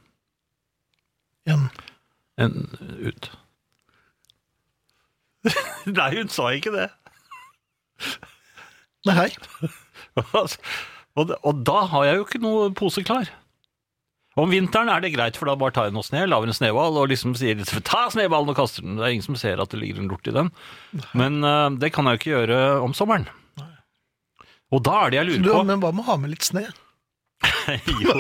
Speaker 2: En.
Speaker 3: En ut. Nei, hun sa ikke det.
Speaker 2: Nei, hei.
Speaker 3: og, det- og da har jeg jo ikke noe pose klar. Om vinteren er det greit, for da bare tar jeg noe sne, lager en snøball og liksom sier ta snøballen og kaster den. Det er ingen som ser at det ligger en lort i den. Men eh, det kan jeg jo ikke gjøre om sommeren. Og da er det jeg
Speaker 2: Du,
Speaker 3: lurer på
Speaker 2: men hva med å ha med litt sne?
Speaker 3: jo,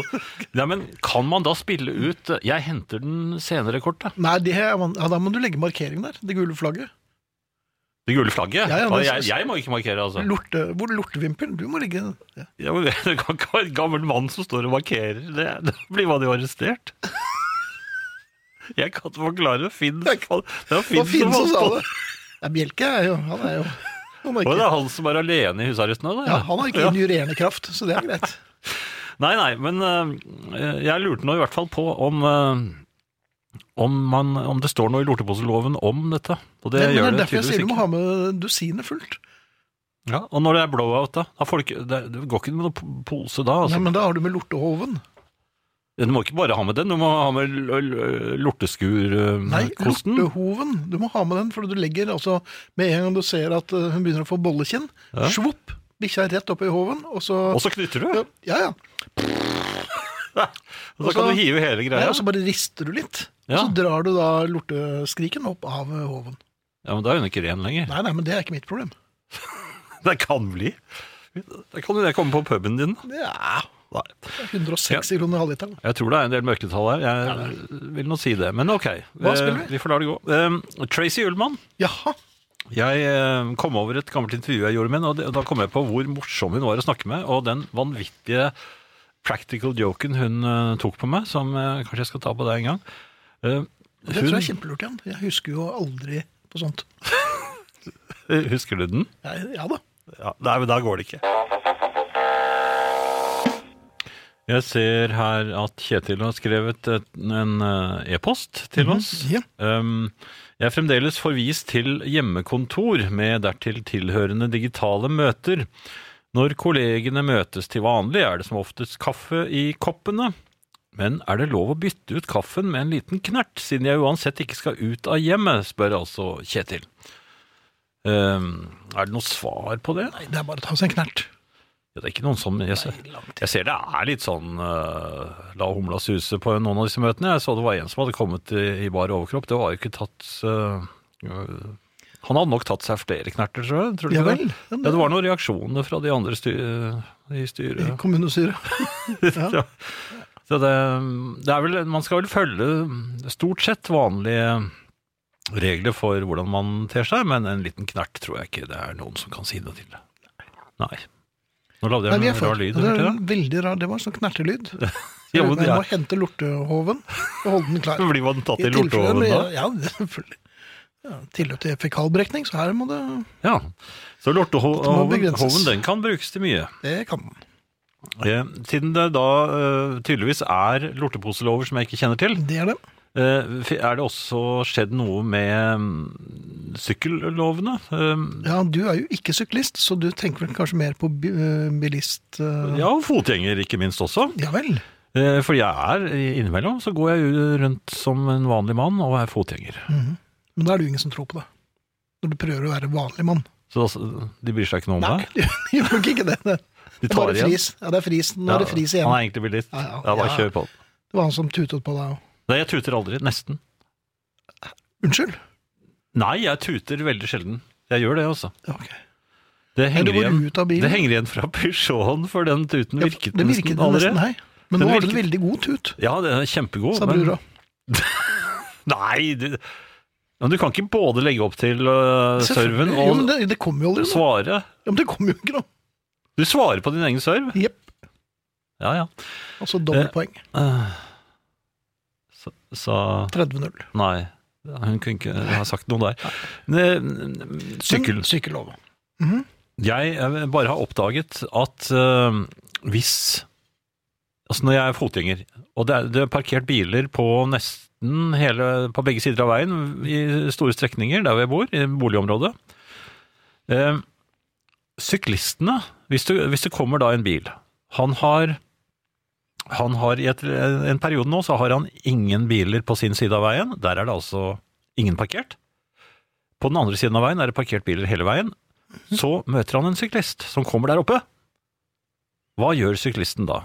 Speaker 3: nei, men Kan man da spille ut eh, 'jeg henter den senere' kortet?
Speaker 2: Nei, det er, man- ja, da må du legge markering der. Det gule flagget.
Speaker 3: Det gule flagget?
Speaker 2: Ja, ja, det-
Speaker 3: jeg, jeg må ikke markere, altså.
Speaker 2: Lorte, hvor lortevimpelen? Du må ligge ja.
Speaker 3: Ja, men Det kan ikke være en gammel mann som står og markerer. Det, da blir man jo arrestert. Jeg kan ikke forklare det. Finn, det var
Speaker 2: Det
Speaker 3: Finn,
Speaker 2: var Finn som sa
Speaker 3: fant på
Speaker 2: det. Ja, Bjelke er jo Han er jo han har
Speaker 3: Og det
Speaker 2: ikke,
Speaker 3: er han som er alene i husarresten nå, da?
Speaker 2: ja, han har ikke
Speaker 3: Ja.
Speaker 2: injurerende kraft, så det er greit.
Speaker 3: Nei, nei, men øh, jeg lurte nå i hvert fall på om øh, om, man, om det står noe i lorteposeloven om dette. Og det
Speaker 2: Nei, men det
Speaker 3: gjør
Speaker 2: er
Speaker 3: det
Speaker 2: derfor jeg sier
Speaker 3: tydeligvis
Speaker 2: du må
Speaker 3: ikke.
Speaker 2: ha med dusinet fullt.
Speaker 3: Ja, og når det er blowout, da? da får du ikke, det, det går ikke med noe po- pose da?
Speaker 2: Nei,
Speaker 3: Altså.
Speaker 2: men da har du med lortehoven.
Speaker 3: Du må ikke bare ha med den, du må ha med eh,
Speaker 2: Nei,
Speaker 3: lorteskurkosten.
Speaker 2: lortehoven. Du må ha med den, for du legger altså Med en gang du ser at eh, hun begynner å få bollekinn,
Speaker 3: Ja.
Speaker 2: svopp, bikkja er rett opp i hoven, og så
Speaker 3: og så knytter du?
Speaker 2: Ja, ja. ja.
Speaker 3: Og så
Speaker 2: Og
Speaker 3: kan
Speaker 2: så-
Speaker 3: du hive hele
Speaker 2: Nei,
Speaker 3: greia.
Speaker 2: og så bare rister du litt.
Speaker 3: Ja.
Speaker 2: Og så drar du da lorteskriken opp av eh, hoven.
Speaker 3: Ja, men da er hun ikke ren lenger.
Speaker 2: Nei, nei, men det er ikke mitt problem.
Speaker 3: Det kan bli. Da kan jo det komme på puben din.
Speaker 2: Ja,
Speaker 3: Nei.
Speaker 2: 160 kroner halvliteren.
Speaker 3: Jeg tror det er en del mørketall her. Jeg vil nå si det. Men ok,
Speaker 2: Hva
Speaker 3: Eh,
Speaker 2: spiller vi?
Speaker 3: vi får la det gå. Eh, Tracy Ullmann.
Speaker 2: Jaha.
Speaker 3: Jeg eh, kom over et gammelt intervju jeg gjorde med henne, og det- og da kom jeg på hvor morsom hun var å snakke med, og den vanvittige practical joken hun eh, tok på meg, som eh, kanskje jeg skal ta på deg en gang. Eh,
Speaker 2: Det tror jeg er kjempelurt igjen. Jeg husker jo aldri på sånt.
Speaker 3: hun, eh, husker du den?
Speaker 2: Ja, ja da.
Speaker 3: Ja, nei, men da går det ikke. Jeg ser her at Kjetil har skrevet et, en eh, e-post til oss.
Speaker 2: ja.
Speaker 3: Um, jeg er fremdeles forvist til hjemmekontor med dertil tilhørende digitale møter. Når kollegene møtes til vanlig, er det som oftest kaffe i koppene. Men er det lov å bytte ut kaffen med en liten knert, siden jeg uansett ikke skal ut av hjemmet, spør altså Kjetil. Um, er det noe svar på det?
Speaker 2: Nei, det er bare å ta seg en knert.
Speaker 3: Ja, det er ikke noen som jeg ser, jeg ser det er litt sånn eh, la humla suse på noen av disse møtene. Jeg så det var en som hadde kommet i, i bar overkropp. Det var jo ikke tatt eh, øh, Han hadde nok tatt seg flere knerter, tror jeg. Tror du
Speaker 2: Ja
Speaker 3: ikke
Speaker 2: vel.
Speaker 3: det? Ja, det var noen reaksjoner fra de andre sty i
Speaker 2: I
Speaker 3: styret.
Speaker 2: kommunestyret.
Speaker 3: Ja. Så det, det er vel, man skal vel følge stort sett vanlige regler for hvordan man ter seg, men en liten knert tror jeg ikke det er noen som kan si noe til. Nei. Nå lagde
Speaker 2: Nei,
Speaker 3: jeg
Speaker 2: vi er
Speaker 3: en
Speaker 2: for.
Speaker 3: rar lyd.
Speaker 2: det
Speaker 3: hørte
Speaker 2: er
Speaker 3: dere?
Speaker 2: en veldig rar. Det var en sånn knertelyd.
Speaker 3: Ja, men
Speaker 2: Jeg
Speaker 3: det
Speaker 2: må
Speaker 3: er-
Speaker 2: hente lortehoven og holde den klar.
Speaker 3: Blir man tatt i
Speaker 2: tilfelle
Speaker 3: lortehoven
Speaker 2: det-
Speaker 3: da?
Speaker 2: Ja, selvfølgelig. Ja, tilløp til fekalbrekning, så her må det
Speaker 3: Ja. Så
Speaker 2: Det må
Speaker 3: lortehoven
Speaker 2: begrenses.
Speaker 3: hoven, den kan brukes til mye.
Speaker 2: Det kan man.
Speaker 3: Eh, Siden det da eh, tydeligvis er lorteposelover som jeg ikke kjenner til,
Speaker 2: Det er det.
Speaker 3: eh, fi- er det også skjedd noe med mm, sykkellovene? Eh,
Speaker 2: Ja, du er jo ikke syklist, så du tenker vel kanskje mer på bi- øh, bilist... øh,
Speaker 3: Ja, og fotgjenger ikke minst også.
Speaker 2: Ja vel.
Speaker 3: Eh, For jeg er innimellom, så går jeg jo rundt som en vanlig mann og er fotgjenger.
Speaker 2: Men da er det jo ingen som tror på det. Når du prøver å være vanlig mann.
Speaker 3: Så altså, de bryr seg ikke noe om
Speaker 2: Nei,
Speaker 3: deg?
Speaker 2: de gjør nok ikke det. Det
Speaker 3: De
Speaker 2: er
Speaker 3: tar
Speaker 2: bare
Speaker 3: igjen?
Speaker 2: fris. Ja, det er fris. Nå er det fris igjen.
Speaker 3: Han er egentlig bilist.
Speaker 2: Ja, ja.
Speaker 3: Ja, bare
Speaker 2: Ja.
Speaker 3: kjør på.
Speaker 2: Det var han som tutet på deg òg.
Speaker 3: Nei, jeg tuter aldri. Nesten.
Speaker 2: Unnskyld?
Speaker 3: Nei, jeg tuter veldig sjelden. Jeg gjør det, altså.
Speaker 2: Ja, ok.
Speaker 3: Det
Speaker 2: Nei,
Speaker 3: henger,
Speaker 2: du går
Speaker 3: igjen,
Speaker 2: ut av bilen.
Speaker 3: det henger igjen fra Peugeoten, for den tuten
Speaker 2: Ja,
Speaker 3: virket,
Speaker 2: det virket
Speaker 3: nesten allerede.
Speaker 2: nesten, nei. Men
Speaker 3: Den
Speaker 2: nå har du en
Speaker 3: virket-
Speaker 2: veldig god tut,
Speaker 3: Ja, det er kjempegod.
Speaker 2: sa
Speaker 3: men- eh,
Speaker 2: brura.
Speaker 3: Nei, du, men du kan ikke både legge opp til uh, serven
Speaker 2: Selvfølgelig. jo, men
Speaker 3: og
Speaker 2: det, det kommer jo aldri noe.
Speaker 3: svare.
Speaker 2: Ja, men det kommer jo ikke noe.
Speaker 3: Du svarer på din egen serv.
Speaker 2: Jepp.
Speaker 3: Ja, ja.
Speaker 2: Altså dobbeltpoeng.
Speaker 3: Eh, Så, så
Speaker 2: 30-0.
Speaker 3: Nei. Hun kunne ikke ha sagt noe der. Ne- Sykkel.
Speaker 2: Men Sykkellov.
Speaker 3: Jeg eh, bare har oppdaget at eh, hvis Altså når jeg er fotgjenger, og det er, det er parkert biler på nesten hele, på begge sider av veien, i store strekninger der hvor jeg bor, i boligområdet eh, Syklistene, hvis det, hvis det kommer da en bil Han har, han har i et, en periode nå så har han ingen biler på sin side av veien. Der er det altså ingen parkert. På den andre siden av veien er det parkert biler hele veien. Så møter han en syklist som kommer der oppe. Hva gjør syklisten da?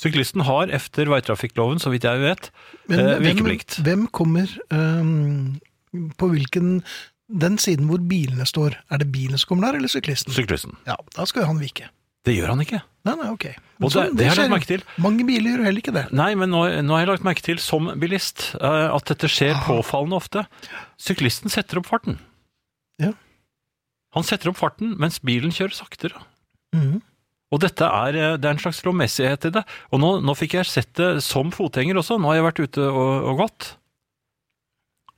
Speaker 3: Syklisten har efter veitrafikkloven, så vidt jeg vet,
Speaker 2: Men
Speaker 3: eh,
Speaker 2: hvem,
Speaker 3: vikeplikt.
Speaker 2: hvem kommer øhm, på hvilken Den siden hvor bilene står. Er det bilen som kommer der, eller syklisten?
Speaker 3: Syklisten.
Speaker 2: ja, da skal jo han vike.
Speaker 3: Det gjør han ikke.
Speaker 2: Nei, nei, ok. Men
Speaker 3: Og det-
Speaker 2: sånn,
Speaker 3: det har jeg
Speaker 2: skjer
Speaker 3: lagt
Speaker 2: jo.
Speaker 3: merke til.
Speaker 2: Mange biler gjør heller ikke det.
Speaker 3: Nei, men nå, nå har jeg lagt merke til, som bilist, eh, at dette skjer påfallende ofte. Syklisten setter opp farten.
Speaker 2: Ja.
Speaker 3: Han setter opp farten mens bilen kjører saktere. Mm.
Speaker 2: Mhm.
Speaker 3: Og dette er, eh, det er en slags lovmessighet i det. Og nå, nå fikk jeg sett det som fotgjenger også. Nå har jeg vært ute og, og gått.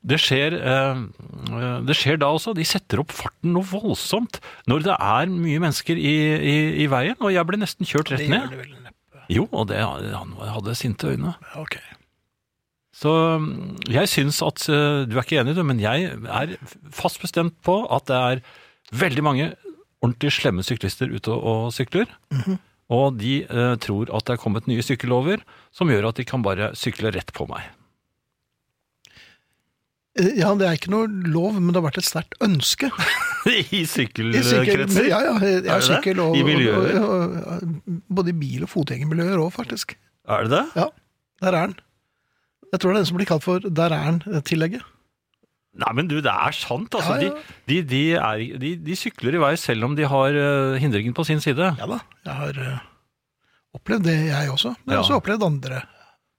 Speaker 3: Det skjer, eh, eh, det skjer da også. De setter opp farten noe voldsomt når det er mye mennesker i, i, i veien. Og jeg ble nesten kjørt rett
Speaker 2: Det gjør
Speaker 3: ned.
Speaker 2: det vel neppe.
Speaker 3: Jo, og det, han hadde sinte øyne.
Speaker 2: Ok.
Speaker 3: Så mm, jeg syns at eh, Du er ikke enig, du, men jeg er fast bestemt på at det er veldig mange ordentlig slemme syklister ute og, og sykler. Og de eh, tror at det er kommet nye sykkellover som gjør at de kan bare sykle rett på meg.
Speaker 2: Eh, Ja, det er ikke noe lov, men det har vært et sterkt ønske.
Speaker 3: I
Speaker 2: I sykkel-
Speaker 3: sykkelkretser?
Speaker 2: Ja, eh, ja. Jeg er
Speaker 3: eh, Er det det?
Speaker 2: sykkel og,
Speaker 3: I miljøer?
Speaker 2: og- og- og- Både i bil- og fotgjengermiljøer òg, faktisk.
Speaker 3: Er det det?
Speaker 2: Ja, der er den. Jeg tror det er den som blir kalt for 'der er eh, den'-tillegget.
Speaker 3: Nei, men du, det er sant. Altså,
Speaker 2: Ja, ja.
Speaker 3: De, de, de, er, de, de sykler i vei selv om de har eh, hindringen på sin side.
Speaker 2: Ja da. Jeg har eh, opplevd det, jeg også. Men jeg har
Speaker 3: Ja.
Speaker 2: også opplevd andre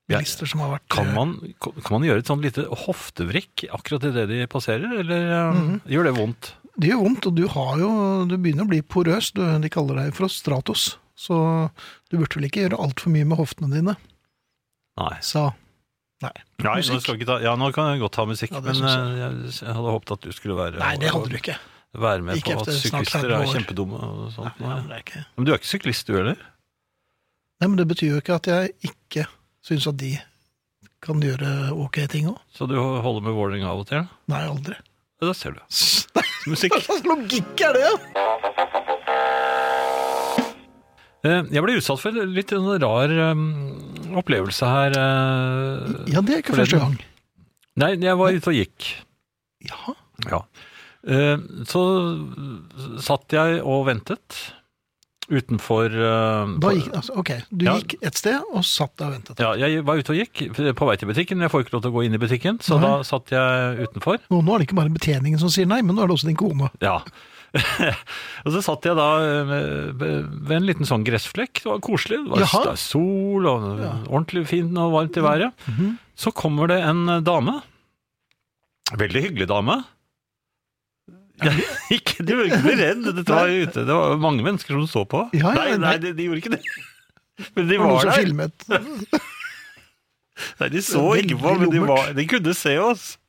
Speaker 2: bilister som har vært
Speaker 3: Kan
Speaker 2: eh,
Speaker 3: man, kan man gjøre et sånn lite hoftevrikk akkurat idet de passerer, eller eh, gjør det vondt?
Speaker 2: Det gjør vondt, og du har jo Du begynner å bli porøs. Du, de kaller deg for stratos. Så du burde vel ikke gjøre altfor mye med hoftene dine,
Speaker 3: Nei.
Speaker 2: sa Nei.
Speaker 3: Nei nå,
Speaker 2: Musikk.
Speaker 3: skal jeg ikke ta, ja, nå kan jeg godt ta musikk,
Speaker 2: Ja, det
Speaker 3: men
Speaker 2: synes
Speaker 3: eh, jeg, jeg hadde håpet at du skulle være,
Speaker 2: Nei, det hadde du ikke.
Speaker 3: være med
Speaker 2: Ikke
Speaker 3: på at
Speaker 2: etter snart
Speaker 3: syklister
Speaker 2: 30
Speaker 3: er
Speaker 2: år.
Speaker 3: kjempedumme og sånt.
Speaker 2: Nei,
Speaker 3: Nei.
Speaker 2: det er ikke.
Speaker 3: Men du er ikke syklist, du heller?
Speaker 2: Nei, men det betyr jo ikke at jeg ikke syns at de kan gjøre ok ting òg.
Speaker 3: Så du holder med Vålerenga av og til?
Speaker 2: Nei, aldri.
Speaker 3: Ja, da ser du.
Speaker 2: Nei,
Speaker 3: Musikk.
Speaker 2: Hva slags logikk er det?
Speaker 3: Eh, Jeg ble utsatt for en litt sånn rar eh, opplevelse her. eh.
Speaker 2: Ja, det er ikke
Speaker 3: Forleden.
Speaker 2: første gang.
Speaker 3: Nei, jeg var ute og gikk.
Speaker 2: Ja,
Speaker 3: Ja. Eh, Så satt jeg og ventet utenfor eh,
Speaker 2: da
Speaker 3: på-
Speaker 2: gikk, altså, ok, Du
Speaker 3: Ja.
Speaker 2: gikk et sted og satt der og ventet.
Speaker 3: Ja, jeg var ute og gikk på vei til butikken. men Jeg får ikke lov til å gå inn i butikken, så
Speaker 2: Nei.
Speaker 3: da satt jeg utenfor.
Speaker 2: Nå, nå er det ikke bare betjeningen som sier nei, men nå er det også din kone.
Speaker 3: Ja. og så satt jeg da eh, ved en liten sånn gressflekk. Det var koselig. Det var
Speaker 2: Jaha.
Speaker 3: det var sol og ordentlig fint og varmt i været.
Speaker 2: Mm-hmm,
Speaker 3: Så kommer det en dame. Veldig hyggelig dame. Jeg, ikke, de var ikke bli redd. Dette var jo ute. Det var mange mennesker som så på.
Speaker 2: Ja, ja,
Speaker 3: nei,
Speaker 2: men-
Speaker 3: nei, de, de gjorde ikke det. Men de
Speaker 2: Det var noen
Speaker 3: var
Speaker 2: som
Speaker 3: der.
Speaker 2: filmet.
Speaker 3: Nei, de så
Speaker 2: Veldig
Speaker 3: ikke på, men de,
Speaker 2: lummert.
Speaker 3: var, de kunne se oss.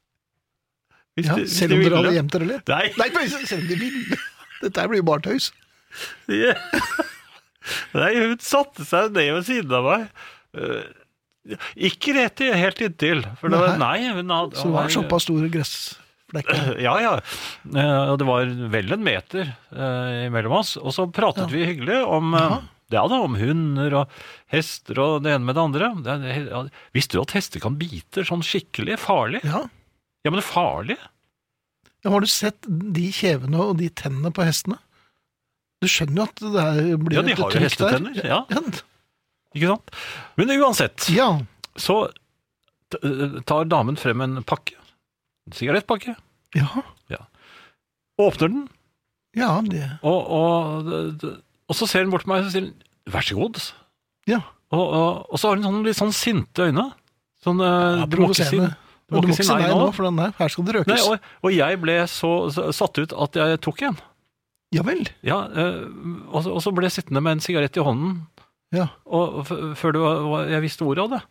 Speaker 3: Hvis
Speaker 2: Ja,
Speaker 3: de- hvis
Speaker 2: selv
Speaker 3: de
Speaker 2: om dere
Speaker 3: ville.
Speaker 2: hadde gjemt dere litt.
Speaker 3: Nei.
Speaker 2: Nei, men selv om de ville. Dette her blir jo bare tøys.
Speaker 3: Ja. Nei, hun satte seg ned ved siden av meg. Eh, Ikke rett i, helt inntil. For det var, nei, hun hadde
Speaker 2: Så det var
Speaker 3: nei,
Speaker 2: såpass store gressflekker.
Speaker 3: Ja, ja. Eh, Og det var vel en meter eh, imellom oss. Og så pratet vi hyggelig om eh, ja da, om hunder og hester og det ene med det andre. Det er, ja, visste du at hester kan bite sånn skikkelig farlig?
Speaker 2: Ja.
Speaker 3: Ja, men farlig?
Speaker 2: Ja, Har du sett de kjevene og de tennene på hestene? Du skjønner jo at det her blir
Speaker 3: Ja, de
Speaker 2: et
Speaker 3: har jo
Speaker 2: trykk der.
Speaker 3: hestetenner, ja.
Speaker 2: ja.
Speaker 3: Ikke sant? Men uansett,
Speaker 2: Ja.
Speaker 3: så t- eh, tar damen frem en pakke. En sigarettpakke.
Speaker 2: Ja.
Speaker 3: Åpner den,
Speaker 2: ja, det.
Speaker 3: og, og, og så ser hun bort på meg og sier hun, vær så god.
Speaker 2: Ja.
Speaker 3: Og, og, og så har hun sånn, litt sånn sinte øyne. Sånn, eh,
Speaker 2: Ja,
Speaker 3: du må ikke si,
Speaker 2: provoserende.
Speaker 3: du må ikke si nei nå.
Speaker 2: for den her, her skal det
Speaker 3: Nei,
Speaker 2: røkes.
Speaker 3: og, og jeg ble så, så satt ut at jeg tok en.
Speaker 2: Ja vel.
Speaker 3: Ja, eh, og, så- og så ble jeg sittende med en sigarett i hånden
Speaker 2: Ja.
Speaker 3: og f før du, og jeg visste ordet av det.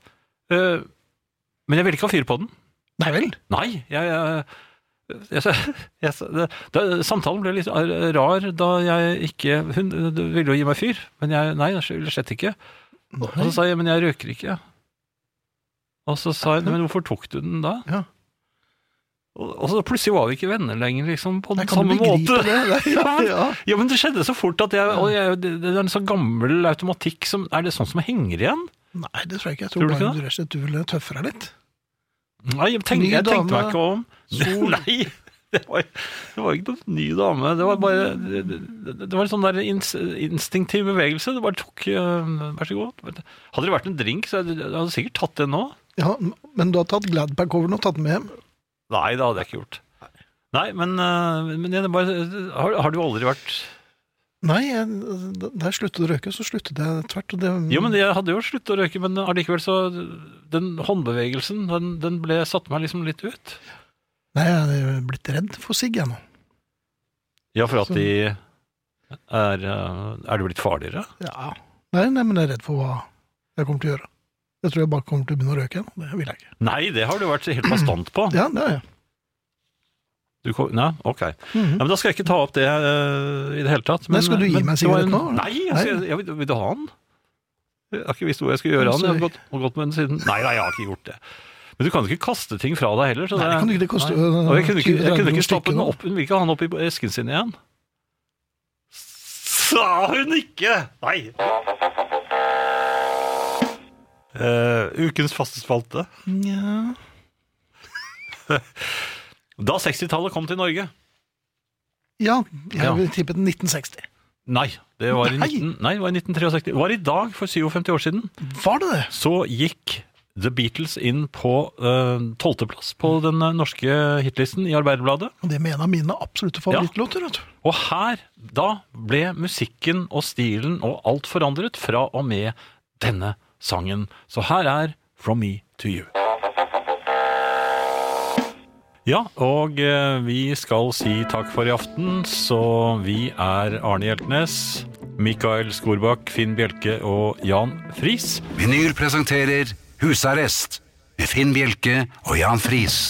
Speaker 3: Eh, men jeg ville ikke ha fyr på den.
Speaker 2: Nei vel?
Speaker 3: Nei, jeg, jeg, jeg, jeg, det, det, Samtalen ble litt rar da jeg ikke Hun du ville jo gi meg fyr, men jeg nei, jeg ville slett ikke. Og så sa jeg men jeg røyker ikke. Og så sa jeg men hvorfor tok du den da?
Speaker 2: Ja.
Speaker 3: Og, og så plutselig var vi ikke venner lenger, liksom, på
Speaker 2: Nei,
Speaker 3: den
Speaker 2: kan du
Speaker 3: samme
Speaker 2: begripe
Speaker 3: måte.
Speaker 2: det? Nei, ja, ja.
Speaker 3: Ja, men det skjedde så fort at jeg, og jeg Det det er en sånn gammel automatikk som Er det sånn som henger igjen?
Speaker 2: Nei, det tror jeg ikke. Jeg
Speaker 3: Tror
Speaker 2: tror,
Speaker 3: du ikke
Speaker 2: bare du, rett og slett, du ville tøffe deg litt.
Speaker 3: Nei, jeg tenkte,
Speaker 2: Ny
Speaker 3: jeg tenkte
Speaker 2: dame,
Speaker 3: meg ikke om.
Speaker 2: sol.
Speaker 3: Nei, det var, det var ikke noen ny dame. Det var bare Det, det, det var en sånn der ins, instinktiv bevegelse. Det bare tok øh, Vær så god. Hadde det vært en drink, så hadde jeg jeg hadde sikkert tatt den nå.
Speaker 2: Ja, Men du har tatt Gladpack-coveren og tatt den med hjem?
Speaker 3: Nei, det hadde jeg ikke gjort. Nei, men, øh, men det er bare, har, har du aldri vært
Speaker 2: Nei, jeg, da da jeg sluttet å røyke, så sluttet jeg tvert. Og det,
Speaker 3: Jo, men jeg hadde jo sluttet å røyke, men allikevel så Den håndbevegelsen, den, den ble satte meg liksom litt ut.
Speaker 2: Nei, jeg er blitt redd for sigg, jeg nå.
Speaker 3: Ja, for at de er øh, Er det blitt farligere?
Speaker 2: Ja. Nei, nei, men jeg er redd for hva jeg kommer til å gjøre. Jeg tror jeg bare kommer til å begynne å røyke igjen. og Det vil jeg ikke.
Speaker 3: Nei, det har du vært helt bastant på.
Speaker 2: Ja, det er jeg. Mhm.
Speaker 3: Du kom, nei, ok. ja, men da skal jeg ikke ta opp det eh, i det hele tatt.
Speaker 2: Nei,
Speaker 3: Men,
Speaker 2: skal du gi
Speaker 3: men
Speaker 2: meg en
Speaker 3: det var
Speaker 2: sigarett
Speaker 3: en-
Speaker 2: nå?
Speaker 3: Nei, jeg,
Speaker 2: Nei.
Speaker 3: skal- jeg, vil, vil du ha den? Jeg har ikke visst hvor jeg skulle gjøre
Speaker 2: Ja,
Speaker 3: den. Jeg har
Speaker 2: sorry.
Speaker 3: gått, har gått med den siden. Nei, nei, jeg har ikke gjort det. Men du kan jo ikke kaste ting fra deg heller. Så
Speaker 2: Nei, det kan du ikke. Det koster
Speaker 3: Nei.
Speaker 2: jo øh,
Speaker 3: Og jeg kunne ikke,
Speaker 2: 20-30
Speaker 3: jeg kunne ikke
Speaker 2: kroner
Speaker 3: stappe
Speaker 2: stykket
Speaker 3: den
Speaker 2: nå.
Speaker 3: opp. Hun vil ikke ha den opp i esken sin igjen. Sa hun ikke! Nei. Eh, ukens faste spalte.
Speaker 2: Nja.
Speaker 3: Da 60-tallet kom til Norge.
Speaker 2: Ja,
Speaker 3: Ja.
Speaker 2: jeg vil tippe 1960.
Speaker 3: Nei, det var i,
Speaker 2: Nei.
Speaker 3: 19, nei, det var i 1963. Det var i dag for 57 år siden.
Speaker 2: Var det det?
Speaker 3: Så gikk The Beatles inn på tolvteplass på den eh, norske hitlisten i Arbeiderbladet.
Speaker 2: Og det med en av mine absolutte favorittlåter, vet du.
Speaker 3: Og her, da, ble musikken og stilen og alt forandret fra og med denne sangen. Så her er From Me To You. Ja, og eh, vi skal si takk for i aften, så vi er Arne Hjeltnes, Mikael Skorbakk, Finn Bjelke og Jan Friis.
Speaker 1: Vinyl presenterer Husarrest med Finn Bjelke og Jan Friis.